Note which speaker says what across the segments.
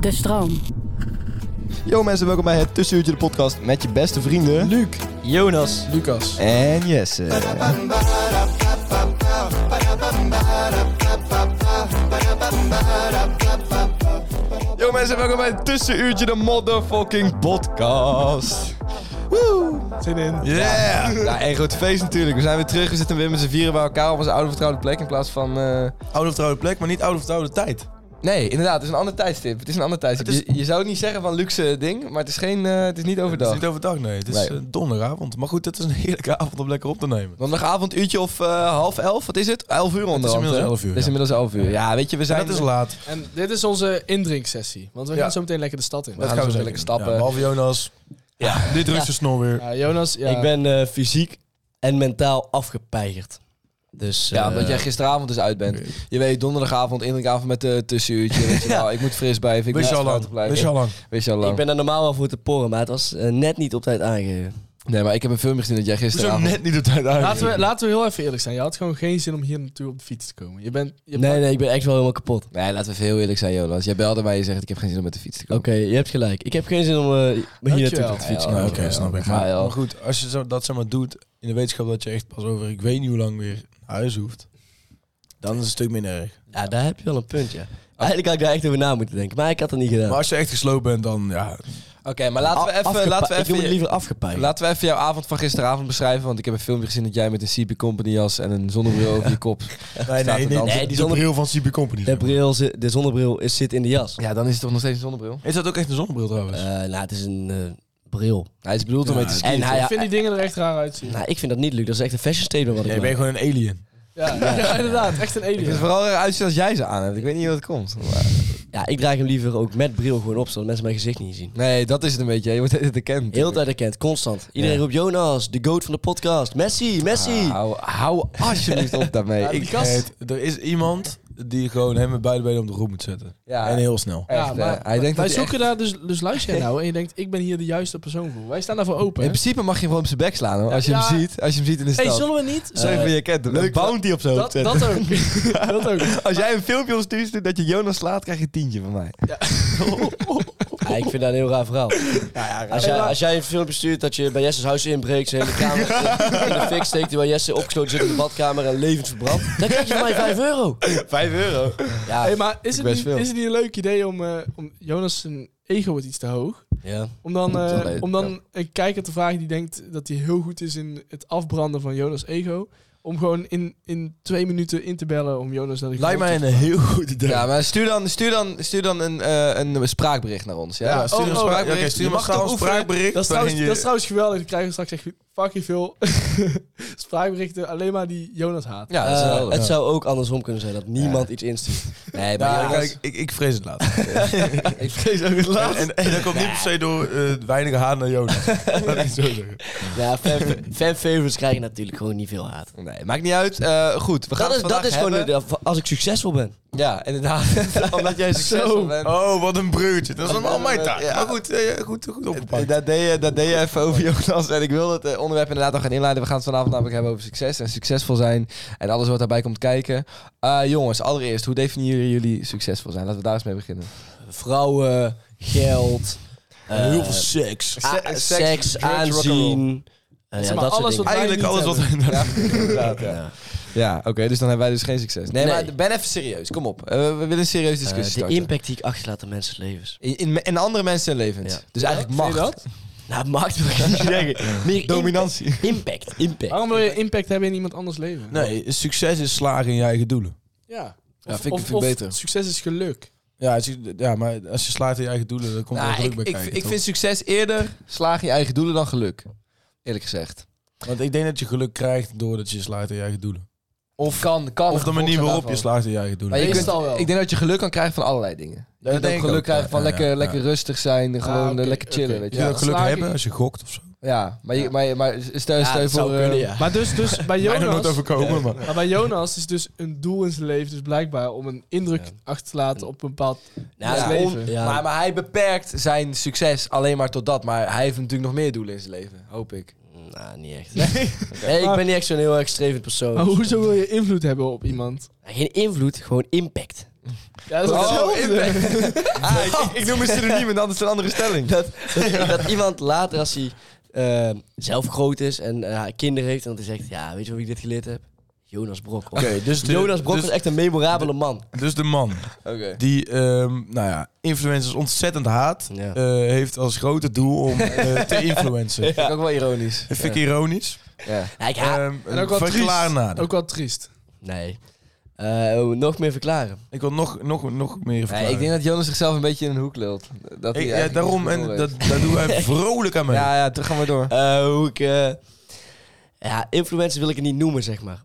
Speaker 1: De stroom.
Speaker 2: Yo mensen, welkom bij het Tussenuurtje de podcast met je beste vrienden... Luc, Jonas
Speaker 3: Lucas.
Speaker 2: en Jesse. Yo mensen, welkom bij het Tussenuurtje de motherfucking podcast. Woe!
Speaker 3: Zin in.
Speaker 2: Yeah! Ja, een groot feest natuurlijk. We zijn weer terug, we zitten weer met z'n vieren bij elkaar op onze oude vertrouwde plek in plaats van... eh,
Speaker 3: Oude vertrouwde plek, maar niet oude vertrouwde tijd.
Speaker 2: Nee, inderdaad, het is een ander tijdstip. Het is een ander tijdstip.
Speaker 3: Het
Speaker 2: Je, je zou het niet zeggen van luxe ding, maar het is, geen, eh, het is niet
Speaker 3: Het is
Speaker 2: overdag.
Speaker 3: niet overdag, nee. Het is
Speaker 2: Nee.
Speaker 3: eh, donderdagavond. Maar goed, het is een heerlijke avond om lekker op te nemen.
Speaker 2: Donderdagavond uurtje of eh, half elf, wat is het? Elf uur onderhand.
Speaker 3: inmiddels
Speaker 2: hè?
Speaker 3: elf uur,
Speaker 2: Het is
Speaker 3: ja.
Speaker 2: inmiddels elf uur. Ja, weet je, we zijn...
Speaker 3: dat is laat.
Speaker 4: En dit is onze indrinksessie, want we
Speaker 3: Ja.
Speaker 4: gaan zo meteen lekker de stad in.
Speaker 2: Dat gaan we zo lekker stappen.
Speaker 3: Ja, behalve Jonas. Ja. Dit rust de snor weer.
Speaker 4: Ja, Jonas, ja,
Speaker 5: Ik ben eh, fysiek en mentaal afgepeigerd. Dus
Speaker 2: Ja,
Speaker 5: eh,
Speaker 2: omdat jij gisteravond dus uit bent. Je weet, donderdagavond, indrukavond met de tussenuurtje. Weet je wel, ik moet fris blijven. Ik
Speaker 3: Wist je
Speaker 2: moet
Speaker 3: al lang.
Speaker 2: te blijven.
Speaker 3: Wist je al lang.
Speaker 2: Wist je al lang.
Speaker 5: ik ben er normaal wel voor te porren, maar het was eh, net niet op tijd aangegeven.
Speaker 2: Nee, maar ik heb een filmpje gezien dat jij
Speaker 3: Hoezo
Speaker 2: gisteravond...
Speaker 3: net niet op tijd uit?
Speaker 4: laten, we, laten we heel even eerlijk zijn. Je had gewoon geen zin om hier naartoe op de fiets te komen. Je bent, je
Speaker 5: Nee, nee, ik ben echt wel helemaal kapot.
Speaker 2: Nee, laten we even heel eerlijk zijn, Jonas. Jij belde mij en je zegt, ik heb geen zin om met de fiets te
Speaker 5: Oké,
Speaker 2: komen.
Speaker 5: je hebt gelijk. Ik heb geen zin om eh, hier
Speaker 4: Dankjewel.
Speaker 5: naartoe te fietsen.
Speaker 2: Ja,
Speaker 3: Nee,
Speaker 5: Nou,
Speaker 2: joh.
Speaker 3: Oh, Oké, snap ik.
Speaker 2: Ga je
Speaker 3: Maar,
Speaker 2: al.
Speaker 3: maar goed, als je zo- dat zomaar doet in de wetenschap dat je echt pas over ik weet niet hoe lang weer naar huis hoeft, dan is het een stuk minder erg.
Speaker 5: Ja, daar heb je wel een punt, ja. Eigenlijk had ik daar echt over na moeten denken, maar ik had dat niet gedaan.
Speaker 3: Maar als je echt gesloopt bent, dan ja.
Speaker 2: Oké, maar laten we even...
Speaker 5: Afgepe-
Speaker 2: Laten we
Speaker 5: ik noem
Speaker 2: even
Speaker 5: het liever afgepeigerd.
Speaker 2: Laten we even jouw avond van gisteravond beschrijven. Want ik heb een filmpje gezien dat jij met een CP Company jas en een zonnebril over je kop.
Speaker 3: Nee,
Speaker 2: nee, nee,
Speaker 5: nee, die zonne-
Speaker 3: van CB Company.
Speaker 5: de, bril, zi- de zonnebril is, zit in de jas.
Speaker 2: Ja, dan is het toch nog steeds een zonnebril?
Speaker 3: Is dat ook echt een zonnebril trouwens?
Speaker 5: Eh, nou, het is een eh, bril.
Speaker 2: Hij is bedoeld om
Speaker 3: Ja, eh,
Speaker 2: mee te skiën.
Speaker 5: En
Speaker 4: ik
Speaker 5: hij,
Speaker 4: vind die dingen er echt raar uitzien.
Speaker 5: nou, ik vind dat niet, Luc. Dat is echt een fashion statement wat ik
Speaker 3: Jij
Speaker 5: maak.
Speaker 3: bent gewoon een alien.
Speaker 4: Ja, ja, inderdaad, echt een
Speaker 2: Het is
Speaker 4: alien.
Speaker 2: vooral eruit zien als jij ze aan hebt. Ik weet niet hoe dat komt. maar-
Speaker 5: Ja, ik draag hem liever ook met bril gewoon op, zodat mensen mijn gezicht niet zien.
Speaker 2: Nee, dat is het een beetje. Je wordt het erkend.
Speaker 5: Heel de tijd herkend, constant. Iedereen roept Jonas, de goat van de podcast. Messi, Messi.
Speaker 2: Ah, Hou, hou alsjeblieft op daarmee.
Speaker 4: die
Speaker 2: Ik-
Speaker 4: kast.
Speaker 3: Het- er is iemand die gewoon hem met beide benen op de grond moet zetten.
Speaker 2: Ja.
Speaker 3: En heel snel.
Speaker 2: echt,
Speaker 4: Ja, maar
Speaker 2: eh, hij denkt
Speaker 4: Wij
Speaker 2: dat hij
Speaker 4: zoeken daar dus, dus luister jij nou en je denkt, ik ben hier de juiste persoon voor. Wij staan daarvoor
Speaker 2: echt- In
Speaker 4: open.
Speaker 2: principe mag je gewoon op zijn bek slaan hoor. Als je
Speaker 4: Ja.
Speaker 2: hem ziet. Als je hem ziet in de
Speaker 4: Hé,
Speaker 2: stad.
Speaker 4: hey, zullen we niet?
Speaker 2: Zeg
Speaker 5: Eh,
Speaker 4: zullen
Speaker 2: wie
Speaker 4: we-
Speaker 2: je kent hem.
Speaker 3: Leuk.
Speaker 2: Een bounty op zijn
Speaker 4: dat,
Speaker 2: hoofd zetten.
Speaker 4: dat ook. dat ook.
Speaker 2: Als jij een filmpje opstuurt stuurt dat je Jonas slaat, krijg je een tientje van mij.
Speaker 5: Ja, ik vind dat een heel raar verhaal. als, jij, als jij een filmpje stuurt dat je bij Jesse's huis inbreekt, zijn hele kamer in de fik steekt, terwijl Jesse opgesloten zit in de badkamer en levend verbrandt, dan krijg je van mij 5 euro.
Speaker 2: 5 euro.
Speaker 5: Ja,
Speaker 4: Hey, maar is het,
Speaker 2: best
Speaker 4: niet,
Speaker 2: veel.
Speaker 4: is het niet een leuk idee om, eh, om Jonas zijn ego wordt iets te hoog?
Speaker 5: ja.
Speaker 4: Om dan, eh,
Speaker 2: Zo, nee,
Speaker 4: om dan een kijker te vragen die denkt dat hij heel goed is in het afbranden van Jonas' ego. Om gewoon in, in twee minuten in te bellen om Jonas naar de
Speaker 3: Lijkt
Speaker 4: grond
Speaker 3: mij
Speaker 4: te-
Speaker 3: een heel goed idee.
Speaker 2: Ja, maar stuur dan, stuur dan, stuur dan een, eh, een spraakbericht naar ons. Ja,
Speaker 3: Ja,
Speaker 2: stuur
Speaker 4: oh,
Speaker 2: een
Speaker 4: oh,
Speaker 2: spraakbericht.
Speaker 3: oké, stuur
Speaker 2: Je
Speaker 3: maar
Speaker 2: mag toch
Speaker 3: gauw een
Speaker 2: oefenen?
Speaker 3: spraakbericht
Speaker 4: Dat is, trouwens,
Speaker 3: waarin je-
Speaker 4: dat is trouwens geweldig. Dan krijgen we straks echt fucking veel spraakberichten. Alleen maar die Jonas haat.
Speaker 2: Ja, dat is
Speaker 5: Eh,
Speaker 2: wel.
Speaker 5: het zou ook andersom kunnen zijn dat niemand iets instuurt.
Speaker 2: Nee, maar
Speaker 3: Nou,
Speaker 2: Jonas-
Speaker 3: kijk, ik, ik vrees het later.
Speaker 2: ik vrees ook het laatst.
Speaker 3: En, en dat komt niet per se door eh weinig haat naar Jonas. Laat ik het zo zeggen.
Speaker 5: Ja, fan, fan favorites krijgen natuurlijk gewoon niet veel haat.
Speaker 2: Nee, maakt niet uit. Eh, goed, we gaan
Speaker 5: Dat is,
Speaker 2: het
Speaker 5: dat is
Speaker 2: vandaag
Speaker 5: gewoon,
Speaker 2: hebben.
Speaker 5: de- als ik succesvol ben.
Speaker 2: Ja, inderdaad. Omdat jij succesvol
Speaker 4: Zo.
Speaker 2: bent.
Speaker 3: Oh, wat een breurtje. Dat is allemaal mijn taak.
Speaker 2: Ja.
Speaker 3: Maar goed, eh, goed, goed opgepakt.
Speaker 2: Dat deed, je, dat deed je even over Jonas. En ik wil het eh, onderwerp inderdaad nog gaan inleiden. We gaan het vanavond namelijk hebben over succes en succesvol zijn. En alles wat daarbij komt kijken. Eh, jongens, allereerst, hoe definiëren jullie succesvol zijn? Laten we daar eens mee beginnen.
Speaker 5: Vrouwen, geld, eh,
Speaker 3: heel veel seks.
Speaker 5: a-
Speaker 2: se- seks,
Speaker 5: seks,
Speaker 2: drugs,
Speaker 5: aanzien. eh, ja,
Speaker 4: Zeg maar,
Speaker 5: dat soort
Speaker 4: alles
Speaker 5: dingen.
Speaker 4: wat-
Speaker 3: Eigenlijk
Speaker 4: niet
Speaker 3: alles wat...
Speaker 2: Ja, inderdaad. Ja,
Speaker 5: Ja.
Speaker 2: ja oké, dus dan hebben wij dus geen succes. Nee,
Speaker 5: Nee.
Speaker 2: maar ben even serieus. Kom op. Eh, we willen een serieuze discussie
Speaker 5: Eh, de
Speaker 2: starten.
Speaker 5: impact die ik achterlaat in mensen's levens.
Speaker 2: In, in, in andere mensen levens.
Speaker 5: Ja.
Speaker 2: Dus eigenlijk
Speaker 4: Vind je
Speaker 2: macht.
Speaker 4: dat?
Speaker 5: Nou, maakt wil ik niet zeggen. Meer
Speaker 2: Dominantie.
Speaker 5: Impact. Impact. impact.
Speaker 4: Waarom wil je impact hebben in iemand anders leven?
Speaker 3: Nee, succes is slagen in je eigen doelen.
Speaker 4: Ja.
Speaker 2: Ja, vind ik- vind ik beter.
Speaker 4: Succes is geluk.
Speaker 3: Ja, het is- ja, maar als je slaagt in je eigen doelen, dan komt er
Speaker 2: Nou,
Speaker 3: geluk
Speaker 2: ik,
Speaker 3: bij
Speaker 2: ik,
Speaker 3: kijken,
Speaker 2: ik
Speaker 3: toch?
Speaker 2: vind succes eerder slaag in je eigen doelen dan geluk. Eerlijk gezegd.
Speaker 3: Want ik denk dat je geluk krijgt doordat je slaagt in je eigen doelen.
Speaker 2: Oh, Of, kan, kan
Speaker 3: Of de
Speaker 2: een
Speaker 3: manier
Speaker 2: gevolg
Speaker 3: waarop
Speaker 2: zijn
Speaker 3: je
Speaker 2: daarvan.
Speaker 3: slaagt in je eigen
Speaker 2: Maar je
Speaker 3: doelen.
Speaker 4: Meestal
Speaker 2: kunt,
Speaker 4: wel.
Speaker 2: Ik denk dat je geluk kan krijgen van allerlei dingen. Dat,
Speaker 3: denk
Speaker 2: je
Speaker 3: ik
Speaker 2: ook geluk
Speaker 3: ook,
Speaker 2: krijgt
Speaker 3: ja,
Speaker 2: van
Speaker 3: ja,
Speaker 2: lekker,
Speaker 3: ja.
Speaker 2: lekker rustig zijn. en Gewoon
Speaker 4: Ah,
Speaker 2: eh,
Speaker 4: oké,
Speaker 2: lekker chillen,
Speaker 4: oké.
Speaker 2: weet je
Speaker 3: Je kunt
Speaker 4: Ja.
Speaker 3: ook geluk
Speaker 4: Slaag ik-
Speaker 3: hebben als je gokt of zo.
Speaker 2: Ja, maar, je, maar, maar stel,
Speaker 5: Ja,
Speaker 2: stel je
Speaker 5: dat
Speaker 2: voor...
Speaker 5: zou
Speaker 2: eh,
Speaker 5: kunnen, ja.
Speaker 4: Maar dus, dus bij
Speaker 3: Mij nog nooit
Speaker 4: Jonas...
Speaker 3: overkomen, maar...
Speaker 4: Maar bij Jonas is dus een doel in zijn leven, dus blijkbaar om een indruk achter te laten op een bepaald.
Speaker 5: Nou,
Speaker 2: Ja.
Speaker 5: dat is-
Speaker 4: Leven.
Speaker 5: ja.
Speaker 2: Maar, maar hij beperkt zijn succes alleen maar tot dat. Maar hij heeft natuurlijk nog meer doelen in zijn leven, hoop ik.
Speaker 5: Nou, niet echt. Nee, ik ben niet echt zo'n heel erg strevend persoon.
Speaker 4: Maar hoezo wil je invloed hebben op iemand?
Speaker 5: Geen invloed, gewoon impact. Oh,
Speaker 4: Ja, dat is hetzelfde.
Speaker 2: Ah, ik, ik- ik noem een synoniem, want anders is het een andere stelling.
Speaker 5: Dat, dat, dat iemand later, als hij eh, zelf groot is en eh, kinderen heeft, en dat hij zegt, ja, weet je wat ik dit geleerd heb? Jonas Brok. hoor.
Speaker 3: dus de-
Speaker 5: Jonas Brok
Speaker 3: dus-
Speaker 5: is echt een memorabele man.
Speaker 3: Dus de man
Speaker 2: Oké.
Speaker 3: die ehm, nou ja, influencers ontzettend haat,
Speaker 5: Ja.
Speaker 3: eh, heeft als grote doel om eh, te influencen.
Speaker 2: Vind ik ook wel ironisch.
Speaker 3: Dat vind ik ironisch.
Speaker 2: Ja.
Speaker 5: Ja, ik haat...
Speaker 3: Ehm
Speaker 4: En ook wel
Speaker 3: verklaar
Speaker 4: triest.
Speaker 3: nader.
Speaker 4: Ook wel triest.
Speaker 5: Nee. Eh, nog meer verklaren.
Speaker 3: Ik wil nog, nog, nog meer verklaren.
Speaker 2: ik denk dat Jonas zichzelf een beetje in een hoek lult. Dat hij
Speaker 3: Ik- ja,
Speaker 2: eigenlijk
Speaker 3: daarom,
Speaker 2: niet
Speaker 3: en
Speaker 2: zoveel
Speaker 3: dat,
Speaker 2: weet.
Speaker 3: daar doen wij vrolijk aan mee.
Speaker 2: Ja, ja, terug gaan we door.
Speaker 5: Eh, hoe ik... eh, ja, influencer wil ik het niet noemen, zeg maar.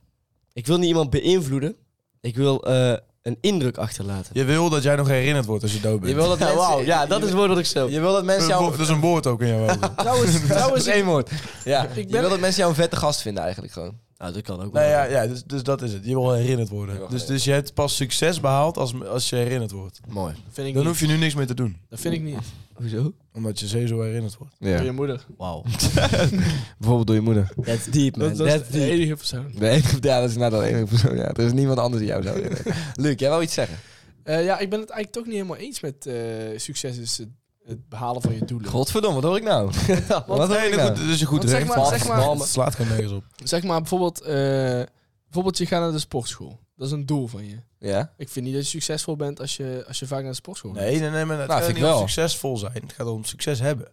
Speaker 5: Ik wil niet iemand beïnvloeden. Ik wil eh, een indruk achterlaten.
Speaker 3: Je wil dat jij nog herinnerd wordt als je dood bent.
Speaker 2: Je wil dat
Speaker 5: Ja,
Speaker 2: mensen...
Speaker 5: wauw. Ja, dat is het woord dat ik stel.
Speaker 2: Je wil dat
Speaker 3: dat,
Speaker 2: mensen
Speaker 3: is een
Speaker 2: jou...
Speaker 3: woord- dat is een woord ook in jouw ogen.
Speaker 2: Trouwens, trouwens één woord. Ja, je
Speaker 4: ben-
Speaker 2: wil dat mensen jou een vette gast vinden eigenlijk gewoon.
Speaker 5: Nou, dat kan ook wel.
Speaker 3: nou ja, ja dus, dus dat is het. Je wil herinnerd
Speaker 2: Je
Speaker 3: worden.
Speaker 2: wil
Speaker 3: Dus, dus je hebt pas succes behaald als, als je herinnerd wordt.
Speaker 2: Mooi.
Speaker 4: Vind ik
Speaker 3: Dan
Speaker 4: niet.
Speaker 3: hoef je nu niks meer te doen.
Speaker 4: Dat vind ik niet.
Speaker 5: Hoezo?
Speaker 3: Omdat je sowieso herinnerd wordt.
Speaker 4: Door je moeder.
Speaker 5: Wauw.
Speaker 2: Bijvoorbeeld door je moeder.
Speaker 5: That's deep, man.
Speaker 4: Dat, dat
Speaker 5: That's
Speaker 4: is de
Speaker 5: deep.
Speaker 4: enige persoon.
Speaker 2: De enige, ja, dat is inderdaad de enige persoon. Ja, er is niemand anders die jou zou willen. Luc, jij wou iets zeggen?
Speaker 4: Eh, ja, ik ben het eigenlijk toch niet helemaal eens met eh, succes is het, het behalen van je doelen.
Speaker 2: Godverdomme, wat hoor ik nou? wat hoor
Speaker 3: Nee,
Speaker 2: ik
Speaker 3: dat
Speaker 2: nou?
Speaker 3: goed- dat is een goed
Speaker 4: Want zeg
Speaker 3: recht.
Speaker 4: maar- zeg maar-
Speaker 3: Het slaat geen nergens op.
Speaker 4: Zeg maar bijvoorbeeld, eh, bijvoorbeeld je gaat naar de sportschool. Dat is een doel van je.
Speaker 2: Ja?
Speaker 4: Ik vind niet dat je succesvol bent als je, als je vaak naar de sportschool gaat.
Speaker 3: Nee, nee, nee, maar het
Speaker 2: Nou,
Speaker 3: gaat
Speaker 2: vind
Speaker 3: niet
Speaker 2: ik
Speaker 3: om
Speaker 2: wel.
Speaker 3: succesvol zijn. Het gaat om succes hebben.